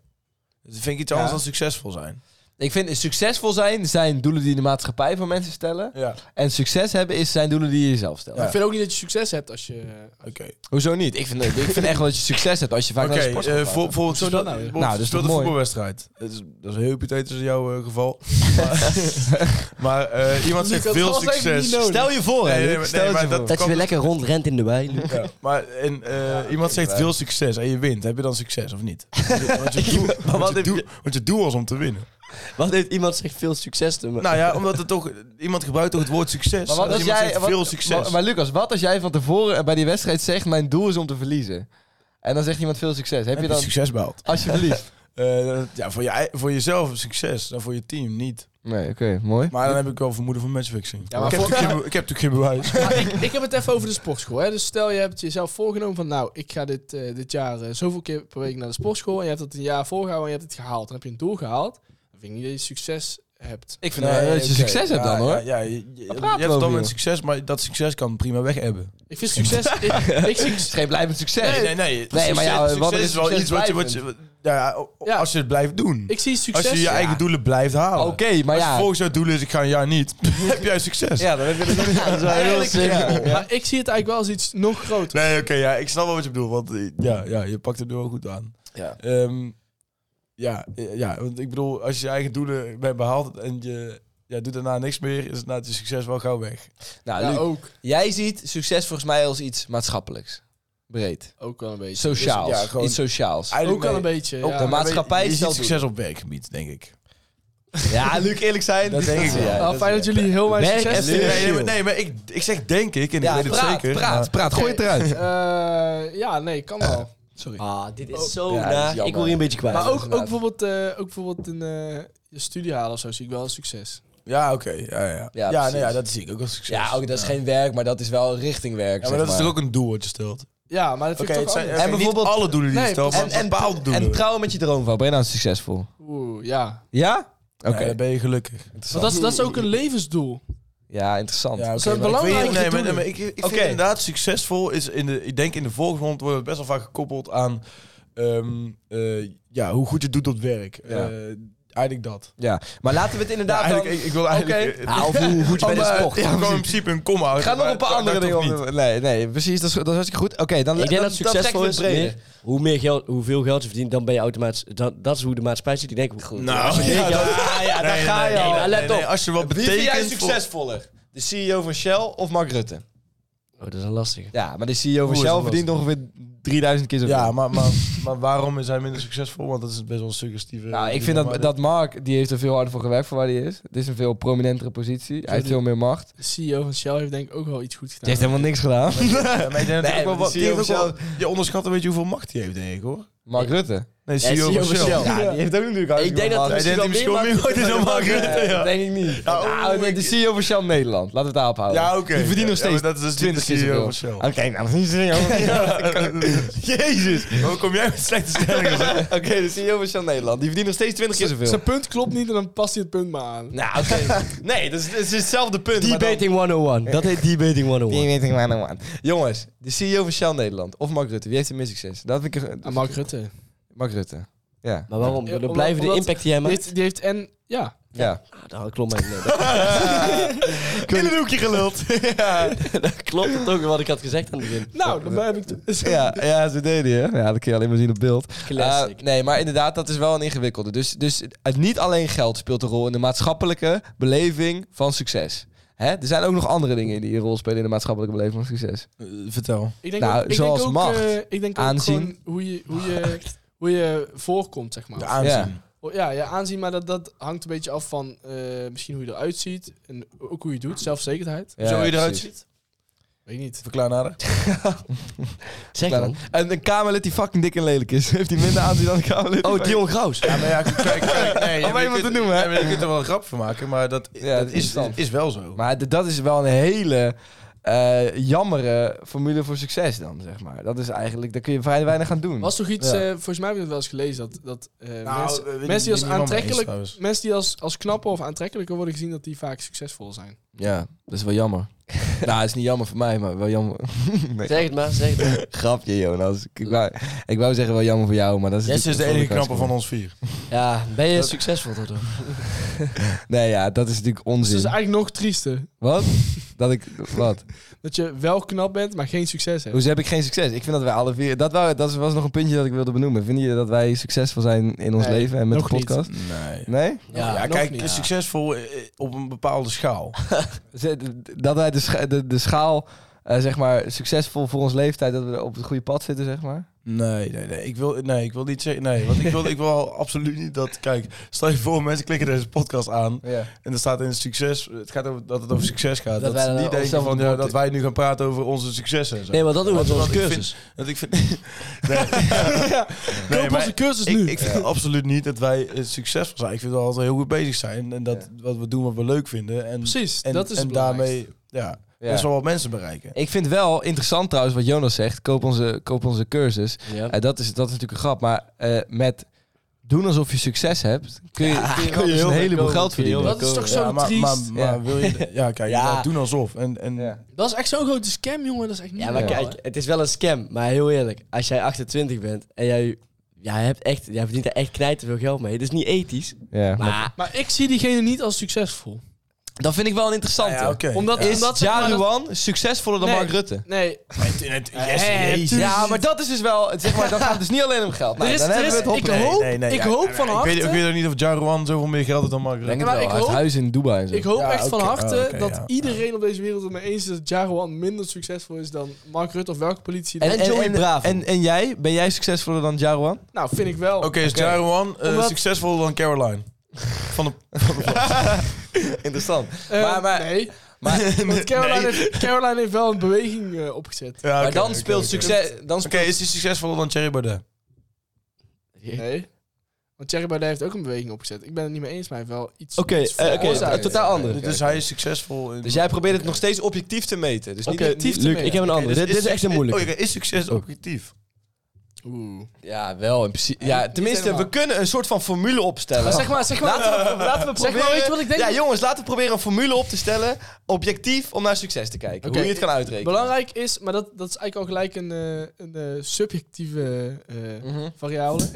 Speaker 3: Dat vind ik iets anders
Speaker 2: Ja.
Speaker 3: dan succesvol zijn.
Speaker 2: Ik vind succesvol zijn, zijn doelen die de maatschappij voor mensen stellen.
Speaker 3: Ja.
Speaker 2: En succes hebben is zijn doelen die je jezelf stelt.
Speaker 4: Ik vind ook niet dat je succes hebt als je...
Speaker 3: Oké.
Speaker 2: Hoezo niet? Ik vind, ik vind echt wel dat je succes hebt als je vaak
Speaker 3: Oké,
Speaker 2: naar
Speaker 3: eh
Speaker 2: de sport gaat.
Speaker 3: voor- bijvoorbeeld
Speaker 4: Zo
Speaker 3: zo
Speaker 4: dan
Speaker 3: dan
Speaker 4: nou weer.
Speaker 2: Nou, dat is toch
Speaker 3: een
Speaker 2: mooi.
Speaker 3: voetbalwedstrijd. Dat is, dat is heel hypothetisch in jouw eh, geval. maar maar, eh, iemand zegt
Speaker 4: Luc, dat
Speaker 3: veel
Speaker 4: was even
Speaker 3: succes.
Speaker 4: niet nodig.
Speaker 2: Stel je voor, hè,
Speaker 3: Nee, nee,
Speaker 2: Luc,
Speaker 3: maar-
Speaker 2: stel
Speaker 3: nee,
Speaker 2: het je
Speaker 3: maar
Speaker 2: voor.
Speaker 5: Dat je weer lekker rondrent in de wei. Luc.
Speaker 3: Ja, maar en, eh, iemand zegt veel succes en je wint. Heb je dan succes of niet? Want je, doel, want je,
Speaker 5: heb
Speaker 3: doel,
Speaker 5: je-
Speaker 3: want je doel was om te winnen.
Speaker 5: Wat heeft iemand zich veel succes te maken?
Speaker 3: Nou ja, omdat het toch... Iemand gebruikt toch het woord succes.
Speaker 2: Maar wat
Speaker 3: als
Speaker 2: als
Speaker 3: iemand
Speaker 2: jij,
Speaker 3: zegt
Speaker 2: wat-
Speaker 3: veel succes.
Speaker 2: Maar, maar Lucas, wat als jij van tevoren bij die wedstrijd zegt: Mijn doel is om te verliezen? En dan zegt iemand veel succes. Heb
Speaker 3: heb
Speaker 2: je
Speaker 3: je
Speaker 2: dan.
Speaker 3: succes behaald?
Speaker 2: Als je verliest?
Speaker 3: Eh, ja, voor, je, ei- voor jezelf een succes, dan voor je team niet.
Speaker 2: Nee, oké, mooi.
Speaker 3: Maar dan heb ik wel vermoeden van matchfixing.
Speaker 4: Ja, maar
Speaker 3: ik, heb
Speaker 4: voor-
Speaker 3: natuurlijk geen, be- ik heb natuurlijk geen bewijs.
Speaker 4: Maar ik, ik heb het even over de sportschool. Hè. Dus stel je hebt jezelf voorgenomen van nou, ik ga dit, eh, dit jaar eh, zoveel keer per week naar de sportschool. En je hebt dat een jaar volgehouden en je hebt het gehaald. Dan heb je een doel gehaald. Dan vind ik niet dat je succes hebt.
Speaker 2: Ik vind dat je
Speaker 3: oké.
Speaker 2: succes hebt
Speaker 3: Ja,
Speaker 2: dan hoor.
Speaker 3: Ja, ja, je- je, je
Speaker 2: praten we
Speaker 3: hebt het
Speaker 2: over,
Speaker 3: dan
Speaker 2: joh?
Speaker 3: met succes, maar dat succes kan prima weg hebben.
Speaker 4: Ik vind succes... ik, ik
Speaker 2: Het
Speaker 4: succes
Speaker 2: is geen blijvend succes.
Speaker 3: nee.
Speaker 2: maar ja,
Speaker 3: succes
Speaker 2: wat er is
Speaker 3: is wel
Speaker 2: succes
Speaker 3: iets wat je, wat je- ja, o-
Speaker 4: Ja.
Speaker 3: als je het blijft doen.
Speaker 4: ik zie
Speaker 3: als
Speaker 4: succes...
Speaker 3: je je eigen doelen blijft halen.
Speaker 2: Oké, maar
Speaker 3: Als je
Speaker 2: ja.
Speaker 3: volgens jouw doel is, ik ga een jaar niet, heb jij succes.
Speaker 2: Ja, dan heb je het
Speaker 5: dat is wel heel simpel.
Speaker 4: Maar ik zie het eigenlijk wel als iets nog groter.
Speaker 3: Nee, oké, ja, ik snap wel wat je bedoelt, want eh, ja, ja, je pakt het nu wel goed aan.
Speaker 2: Ja.
Speaker 3: Ehm, ja, eh, ja, want ik bedoel, als je je eigen doelen bent behaald en je ja, doet daarna niks meer, is het na je succes wel gauw weg.
Speaker 2: Nou,
Speaker 4: Ja,
Speaker 2: Luc,
Speaker 4: ook.
Speaker 2: jij ziet succes volgens mij als iets maatschappelijks. Breed.
Speaker 4: Ook wel een beetje.
Speaker 2: Sociaals.
Speaker 3: ja, gewoon-
Speaker 2: Iets sociaals.
Speaker 4: ook wel
Speaker 3: nee,
Speaker 4: een beetje.
Speaker 2: Ook
Speaker 4: ja.
Speaker 2: de maatschappij
Speaker 3: je ziet
Speaker 2: stelt
Speaker 3: succes op werkgebied, denk ik.
Speaker 2: Ja, Luc, eerlijk zijn.
Speaker 3: Dat denk ik
Speaker 2: zie
Speaker 3: wel.
Speaker 2: jij.
Speaker 4: Nou, fijn dat jullie heel weinig
Speaker 2: Werk
Speaker 4: succes
Speaker 2: en
Speaker 3: Nee,
Speaker 4: hebben.
Speaker 3: nee, maar, nee, maar ik, ik zeg denk ik en
Speaker 2: Ja,
Speaker 3: ik weet
Speaker 2: praat,
Speaker 3: het zeker.
Speaker 2: praat,
Speaker 3: maar-
Speaker 2: praat. Gooi het eruit.
Speaker 4: Eh, ja, nee, kan wel.
Speaker 5: Ah, dit is zo
Speaker 2: Oh. Ja, dat is
Speaker 5: naar.
Speaker 2: jammer.
Speaker 5: Ik wil hier een beetje kwijt.
Speaker 4: Maar
Speaker 2: dat is
Speaker 4: ook, ook,
Speaker 2: inderdaad.
Speaker 4: bijvoorbeeld, eh, ook bijvoorbeeld een eh, je studie halen of zo zie ik wel als succes.
Speaker 3: Ja, oké. Ja, ja.
Speaker 2: Ja,
Speaker 3: Ja,
Speaker 2: precies.
Speaker 3: nou ja, dat zie ik ook als succes.
Speaker 2: Ja, ook, dat is geen werk, maar dat is wel richting werk.
Speaker 3: Ja, maar
Speaker 2: zeg
Speaker 3: dat is toch ook een doel wat je stelt?
Speaker 4: Ja, maar dat vind
Speaker 3: Oké,
Speaker 4: ik
Speaker 3: het
Speaker 4: toch
Speaker 3: zijn
Speaker 4: anders.
Speaker 3: en bijvoorbeeld,
Speaker 2: bijvoorbeeld-
Speaker 3: niet alle doelen die je
Speaker 4: Nee,
Speaker 3: stelt, maar
Speaker 4: precies.
Speaker 3: en, bepaalde doelen.
Speaker 2: en trouwen met je droomvrouw, ben je nou succesvol?
Speaker 4: Oeh, ja.
Speaker 2: Ja? Oké.
Speaker 3: Nee, dan ben je gelukkig.
Speaker 4: Want dat is, dat is ook een levensdoel.
Speaker 2: Ja, interessant.
Speaker 3: Ja,
Speaker 4: zijn
Speaker 3: oké, maar ik
Speaker 4: belangrijke
Speaker 3: weet- nee, maar-
Speaker 4: doelen.
Speaker 3: nee, maar ik, ik
Speaker 2: Oké.
Speaker 3: vind inderdaad succesvol is in de. Ik denk in de volksmond wordt het best wel vaak gekoppeld aan ehm, eh, ja, hoe goed je het doet op werk.
Speaker 2: Ja.
Speaker 3: Eh, eigenlijk dat.
Speaker 2: Ja. Maar laten we het
Speaker 3: Ja,
Speaker 2: inderdaad
Speaker 3: eigenlijk, ik, ik wil eigenlijk.
Speaker 2: Oké.
Speaker 3: eh,
Speaker 5: Ah, of hoe goed je bent in
Speaker 3: maar,
Speaker 5: sport.
Speaker 3: ja, ik kan in principe een komma.
Speaker 2: dan... Ga
Speaker 3: houden,
Speaker 2: nog
Speaker 3: maar
Speaker 2: een paar
Speaker 3: dat-
Speaker 2: andere
Speaker 3: dat
Speaker 2: dingen
Speaker 3: toch niet.
Speaker 2: op. Nee, nee, precies. Dat is, dat is hartstikke goed. Oké, dan...
Speaker 5: Ik denk dat
Speaker 2: dan- dan trekken
Speaker 5: succesvol
Speaker 2: we
Speaker 5: is
Speaker 2: het breder.
Speaker 5: meer, hoe meer geld, hoeveel geld je verdient, dan ben je automatisch. Dat, dat is hoe de maatschappij zit. Ik denk,
Speaker 3: Nou,
Speaker 5: ja,
Speaker 3: ja,
Speaker 5: ja,
Speaker 3: dat-
Speaker 5: ja, daar
Speaker 3: Nee,
Speaker 5: ga
Speaker 3: nee,
Speaker 5: je
Speaker 3: nee,
Speaker 5: al.
Speaker 3: nee,
Speaker 5: Let
Speaker 3: nee,
Speaker 5: op.
Speaker 3: Als je wat
Speaker 2: Wie vind
Speaker 3: betekent.
Speaker 2: jij
Speaker 3: voor-
Speaker 2: succesvoller? de CEO van Shell of Mark Rutte?
Speaker 5: Oh, dat is een lastige.
Speaker 2: Ja, maar de CEO van
Speaker 3: Oeh, is
Speaker 2: Shell
Speaker 3: dat
Speaker 2: verdient ongeveer 3000 keer zoveel.
Speaker 3: Ja, maar, maar, maar waarom is hij minder succesvol? Want dat is best wel een suggestieve...
Speaker 2: Nou, ik vind dat, dat Mark, die heeft er veel harder voor gewerkt voor waar hij is. Het is een veel prominentere positie. Hij heeft
Speaker 4: die-
Speaker 2: veel meer macht.
Speaker 4: De CEO van Shell heeft denk ik ook wel iets goed
Speaker 2: Die
Speaker 4: gedaan.
Speaker 2: heeft helemaal niks gedaan.
Speaker 3: Ja, maar ik denk dat
Speaker 2: Nee,
Speaker 3: ook wel
Speaker 2: maar
Speaker 3: wat-
Speaker 2: de E
Speaker 3: die heeft ook
Speaker 2: CEO
Speaker 3: wel- Je onderschat een beetje hoeveel macht hij heeft, denk ik, hoor.
Speaker 2: Mark Rutte.
Speaker 3: Nee,
Speaker 5: Ja, CEO van Shell.
Speaker 2: Ja, die heeft ook natuurlijk hartstikke
Speaker 5: Ik denk
Speaker 2: veel macht.
Speaker 5: dat
Speaker 3: Hij
Speaker 5: hij
Speaker 3: denkt
Speaker 5: misschien
Speaker 3: misschien
Speaker 5: wel
Speaker 3: wel
Speaker 5: meer
Speaker 3: meer is dan Mark Rutte,
Speaker 2: Nee,
Speaker 3: ja.
Speaker 2: denk ik niet.
Speaker 3: Ja,
Speaker 2: Nou,
Speaker 3: oh,
Speaker 2: de-
Speaker 3: ik-
Speaker 2: de CEO van Shell Nederland. Laten we het daarop houden.
Speaker 3: Ja, oké.
Speaker 2: Die verdient nog
Speaker 3: Ja, maar
Speaker 2: steeds
Speaker 3: dat is dus
Speaker 2: 20 keer
Speaker 3: niet de CEO
Speaker 2: zoveel.
Speaker 3: van
Speaker 2: Oké,
Speaker 3: Shell.
Speaker 2: nou, dat is niet CEO. Jezus.
Speaker 3: Hoe kom jij met slechte stellingen? zeg?
Speaker 2: Oké, de CEO van Shell Nederland. Die verdient nog steeds 20 keer zoveel.
Speaker 4: Zijn punt klopt niet en dan past hij het punt maar aan.
Speaker 2: Nou, oké. Nee, dat is, dat is hetzelfde punt. maar dan-
Speaker 5: Debating 101. Dat heet Debating 101.
Speaker 2: oh, Jongens, de CEO van Shell Nederland of Mark Rutte, wie heeft er meer succes? Dat vind ik een-
Speaker 3: Ah,
Speaker 4: Aan Mark Rutte.
Speaker 2: Mark Rutte. Ja.
Speaker 5: Maar waarom?
Speaker 4: Ja,
Speaker 5: Dan
Speaker 4: omdat-
Speaker 5: blijven de
Speaker 4: omdat-
Speaker 5: impact die hij
Speaker 4: Die
Speaker 5: maakt.
Speaker 4: heeft, die heeft en... Ja.
Speaker 2: ja. Ah.
Speaker 5: Ah, dat klopt mij niet.
Speaker 3: In een hoekje geluld.
Speaker 5: Dat klopt het ook wat ik had gezegd aan het begin.
Speaker 4: Nou, dan heb ik... het.
Speaker 2: Ja, ja, ze deden je. Ja, dat kun je alleen maar zien op beeld.
Speaker 5: Classic.
Speaker 2: Eh, nee, maar inderdaad, dat is wel een ingewikkelde. Dus, dus het, niet alleen geld speelt een rol in de maatschappelijke beleving van succes. Hè? Er zijn ook nog andere dingen die een rol spelen in de maatschappelijke beleving van succes.
Speaker 3: Vertel.
Speaker 4: Ik denk
Speaker 2: Nou,
Speaker 4: ook, ik
Speaker 2: zoals
Speaker 4: denk ook,
Speaker 2: macht,
Speaker 4: eh, ik denk ook
Speaker 2: aanzien.
Speaker 4: gewoon hoe je, hoe, je, hoe je voorkomt, zeg maar.
Speaker 3: De
Speaker 4: Ja,
Speaker 3: aanzien.
Speaker 4: ja, aanzien, maar dat, dat hangt een beetje af van eh, misschien hoe je eruit ziet. En ook hoe je doet, zelfzekerheid.
Speaker 2: Ja,
Speaker 3: Zo hoe je
Speaker 2: precies.
Speaker 3: eruit ziet?
Speaker 4: Weet ik niet.
Speaker 3: Verklaar nader.
Speaker 5: Zeg
Speaker 2: Klaar.
Speaker 5: dan.
Speaker 2: En een Kamerlid die fucking dik en lelijk is, heeft hij minder aanzien dan een Kamerlid.
Speaker 5: Oh, Dion Graus.
Speaker 3: Ja, maar ja, kijk, kijk. Nee, ja,
Speaker 2: Om
Speaker 3: maar je
Speaker 2: iemand
Speaker 3: kunt-
Speaker 2: te noemen, hè?
Speaker 3: ja, maar Je kunt er wel een grap van maken, maar dat,
Speaker 2: Ja,
Speaker 3: dat
Speaker 2: dat is
Speaker 3: is,
Speaker 2: dan.
Speaker 3: is wel zo.
Speaker 2: Maar d- dat is wel een hele eh jammere formule voor succes dan, zeg maar. Dat is eigenlijk, daar kun je vrij weinig aan doen.
Speaker 4: Was toch iets,
Speaker 2: Ja.
Speaker 4: eh, volgens mij heb ik het wel eens gelezen, dat, dat eh,
Speaker 3: Nou,
Speaker 4: mensen,
Speaker 3: eh, weet ik
Speaker 4: mensen die
Speaker 3: niet
Speaker 4: als
Speaker 3: helemaal mee eens
Speaker 4: aantrekkelijk,
Speaker 3: trouwens.
Speaker 4: mensen die als, als knapper of aantrekkelijker worden gezien, dat die vaak succesvol zijn.
Speaker 2: Ja, dat is wel jammer. nou, het is niet jammer voor mij, maar wel jammer. Nee.
Speaker 5: Zeg het maar, zeg het maar.
Speaker 2: Grapje, Jonas. Ik wou, ik wou zeggen wel jammer voor jou, maar dat is...
Speaker 3: Jesse is dus de
Speaker 2: natuurlijk
Speaker 3: enige
Speaker 2: een
Speaker 3: knapper van
Speaker 2: persoonlijke
Speaker 3: ons vier.
Speaker 5: Ja, ben je succesvol daardoor?
Speaker 2: uitspraak. Nee, ja, dat is natuurlijk
Speaker 4: Dus
Speaker 2: onzin.
Speaker 4: het is eigenlijk nog triester.
Speaker 2: Wat? Dat ik... Wat?
Speaker 4: Dat je wel knap bent, maar geen succes hebt.
Speaker 2: Hoezo heb ik geen succes? Ik vind dat wij alle vier... Dat, wou, dat was nog een puntje dat ik wilde benoemen. Vind je dat wij succesvol zijn in ons
Speaker 4: Nee,
Speaker 2: leven en met de
Speaker 4: nog niet.
Speaker 2: podcast?
Speaker 3: Nee.
Speaker 2: Nee?
Speaker 3: Ja,
Speaker 5: Ja.
Speaker 4: nog
Speaker 3: kijk,
Speaker 4: niet.
Speaker 3: is succesvol eh, op een bepaalde schaal.
Speaker 2: Ze- Dat wij de, scha- de, de schaal, eh, zeg maar, succesvol voor ons leeftijd, dat we op het goede pad zitten, zeg maar.
Speaker 3: Nee, nee, nee. Ik wil, nee, ik wil niet zeggen. Nee, want ik wil, ik wil absoluut niet dat. Kijk, stel je voor, mensen klikken deze podcast aan.
Speaker 2: Ja.
Speaker 3: En er staat in succes. Het gaat over dat het over succes gaat.
Speaker 5: Dat
Speaker 3: Dat,
Speaker 5: wij
Speaker 3: ze
Speaker 5: dan
Speaker 3: niet denken
Speaker 5: onszelf
Speaker 3: van
Speaker 5: ontmoeten.
Speaker 3: ja, dat wij nu gaan praten over onze successen. en zo.
Speaker 5: Nee, maar dat doen we op
Speaker 3: Want-
Speaker 5: onze
Speaker 3: want ik
Speaker 5: cursus.
Speaker 3: Want ik vind. Nee, nee
Speaker 4: Koop
Speaker 3: maar
Speaker 4: onze cursus
Speaker 3: ik,
Speaker 4: nu!
Speaker 3: ik vind absoluut niet dat wij eh, succesvol zijn. Ik vind wel dat we heel goed bezig zijn. En dat wat we doen wat we leuk vinden. En,
Speaker 4: Precies,
Speaker 3: en,
Speaker 4: dat is
Speaker 3: En
Speaker 4: het belangrijkste.
Speaker 3: daarmee ja, best wel wat mensen bereiken.
Speaker 2: Ik vind wel interessant trouwens wat Jonas zegt. Koop onze, koop onze cursus.
Speaker 5: Ja.
Speaker 2: Eh, dat, is, dat is natuurlijk een grap. Maar eh, met doen alsof je succes hebt, kun je, kun je wel dus
Speaker 5: heel
Speaker 2: een
Speaker 5: veel
Speaker 2: heleboel
Speaker 5: komen,
Speaker 2: geld
Speaker 5: kun je heel
Speaker 2: verdienen.
Speaker 4: Dat is toch zo
Speaker 3: Ja, maar,
Speaker 4: triest.
Speaker 3: maar, maar
Speaker 2: Ja.
Speaker 3: wil je... Ja, kijk,
Speaker 5: Ja.
Speaker 3: nou, doen alsof. En, en
Speaker 2: Ja.
Speaker 4: Dat is echt zo'n grote scam, jongen. Dat is echt niet
Speaker 5: Ja, maar
Speaker 4: normaal,
Speaker 5: kijk, het is wel een scam. Maar heel eerlijk, als jij 28 bent en jij, ja, jij, hebt echt, jij verdient er echt knijten veel geld mee. Het is niet ethisch.
Speaker 2: Ja.
Speaker 5: Maar
Speaker 4: hè. Maar ik zie diegene niet als succesvol.
Speaker 2: Dat vind ik wel een interessante.
Speaker 3: Ja, ja, oké.
Speaker 2: Omdat
Speaker 4: Ja.
Speaker 2: is
Speaker 4: Omdat-
Speaker 2: Jaruan succesvoller dan
Speaker 4: Nee.
Speaker 2: Mark Rutte.
Speaker 4: Nee,
Speaker 2: Ja, maar dat is dus wel. Zeg maar, dan gaat het dus niet alleen om geld.
Speaker 4: er
Speaker 2: Nee,
Speaker 4: is,
Speaker 2: dan
Speaker 4: er
Speaker 2: hebben
Speaker 4: is,
Speaker 2: we het
Speaker 4: ik
Speaker 2: hoppakee.
Speaker 4: hoop,
Speaker 3: Nee, nee,
Speaker 4: ik
Speaker 3: ja,
Speaker 4: hoop
Speaker 3: ja,
Speaker 4: van
Speaker 3: ik
Speaker 4: harte...
Speaker 3: weet, ik weet ook niet of Jarwan zoveel meer geld heeft dan Mark
Speaker 2: Denk
Speaker 3: Rutte.
Speaker 2: het
Speaker 4: maar
Speaker 2: wel.
Speaker 4: ik
Speaker 2: Hij heeft
Speaker 4: hoop-
Speaker 2: huis in Dubai en zo.
Speaker 4: Ik hoop
Speaker 3: Ja,
Speaker 4: echt van
Speaker 3: oké.
Speaker 4: harte
Speaker 3: Oh, oké,
Speaker 4: dat
Speaker 3: ja.
Speaker 4: iedereen op deze wereld het mee eens is dat Jaroan minder succesvol is dan Mark Rutte of welke politie.
Speaker 5: En- en- Joey Bravo.
Speaker 2: En, en jij? Ben jij succesvoller dan Jaruan?
Speaker 4: nou, vind ik wel.
Speaker 3: Oké, is Jarwan eh,
Speaker 4: Omdat-
Speaker 3: succesvoller dan Caroline? Van de...
Speaker 2: Interessant.
Speaker 4: Eh,
Speaker 2: maar- maar-
Speaker 4: nee,
Speaker 2: Maar,
Speaker 4: want Caroline, heeft, Caroline heeft wel een beweging eh, opgezet.
Speaker 3: Ja,
Speaker 2: maar
Speaker 3: oké,
Speaker 2: dan
Speaker 3: oké,
Speaker 2: speelt
Speaker 3: oké.
Speaker 2: succes. Dan
Speaker 3: Oké,
Speaker 2: speelt,
Speaker 3: is hij succesvoller dan Thierry Baudet?
Speaker 4: Nee. Want Thierry Baudet heeft ook een beweging opgezet. Ik ben het niet mee eens, maar hij heeft wel iets...
Speaker 5: oké,
Speaker 4: iets
Speaker 5: eh, oké,
Speaker 4: veroorzaakt.
Speaker 5: totaal andere.
Speaker 3: dus hij is succesvol in...
Speaker 2: Dus jij probeert het nog steeds objectief te meten. Dus niet-
Speaker 5: Oké,
Speaker 2: niet,
Speaker 5: Luc, ik heb een
Speaker 3: Oké,
Speaker 5: andere.
Speaker 3: dus
Speaker 5: dit, dit is echt een
Speaker 3: succes- oké,
Speaker 5: moeilijke.
Speaker 3: is succes objectief?
Speaker 4: Oeh.
Speaker 2: Ja, wel. In principe, ja, tenminste, we
Speaker 4: helemaal.
Speaker 2: kunnen een soort van formule opstellen.
Speaker 4: Maar zeg maar, zeg maar...
Speaker 2: Laten we, laten we
Speaker 4: Zeg maar,
Speaker 2: proberen...
Speaker 4: weet je wat ik denk?
Speaker 2: Ja, jongens, laten we proberen een formule op te stellen. Objectief om naar succes te kijken.
Speaker 4: Oké.
Speaker 2: Hoe je het kan uitrekenen.
Speaker 4: Belangrijk is, maar dat, dat is eigenlijk al gelijk een, eh, een eh, subjectieve eh,
Speaker 2: Mhm.
Speaker 4: variabele.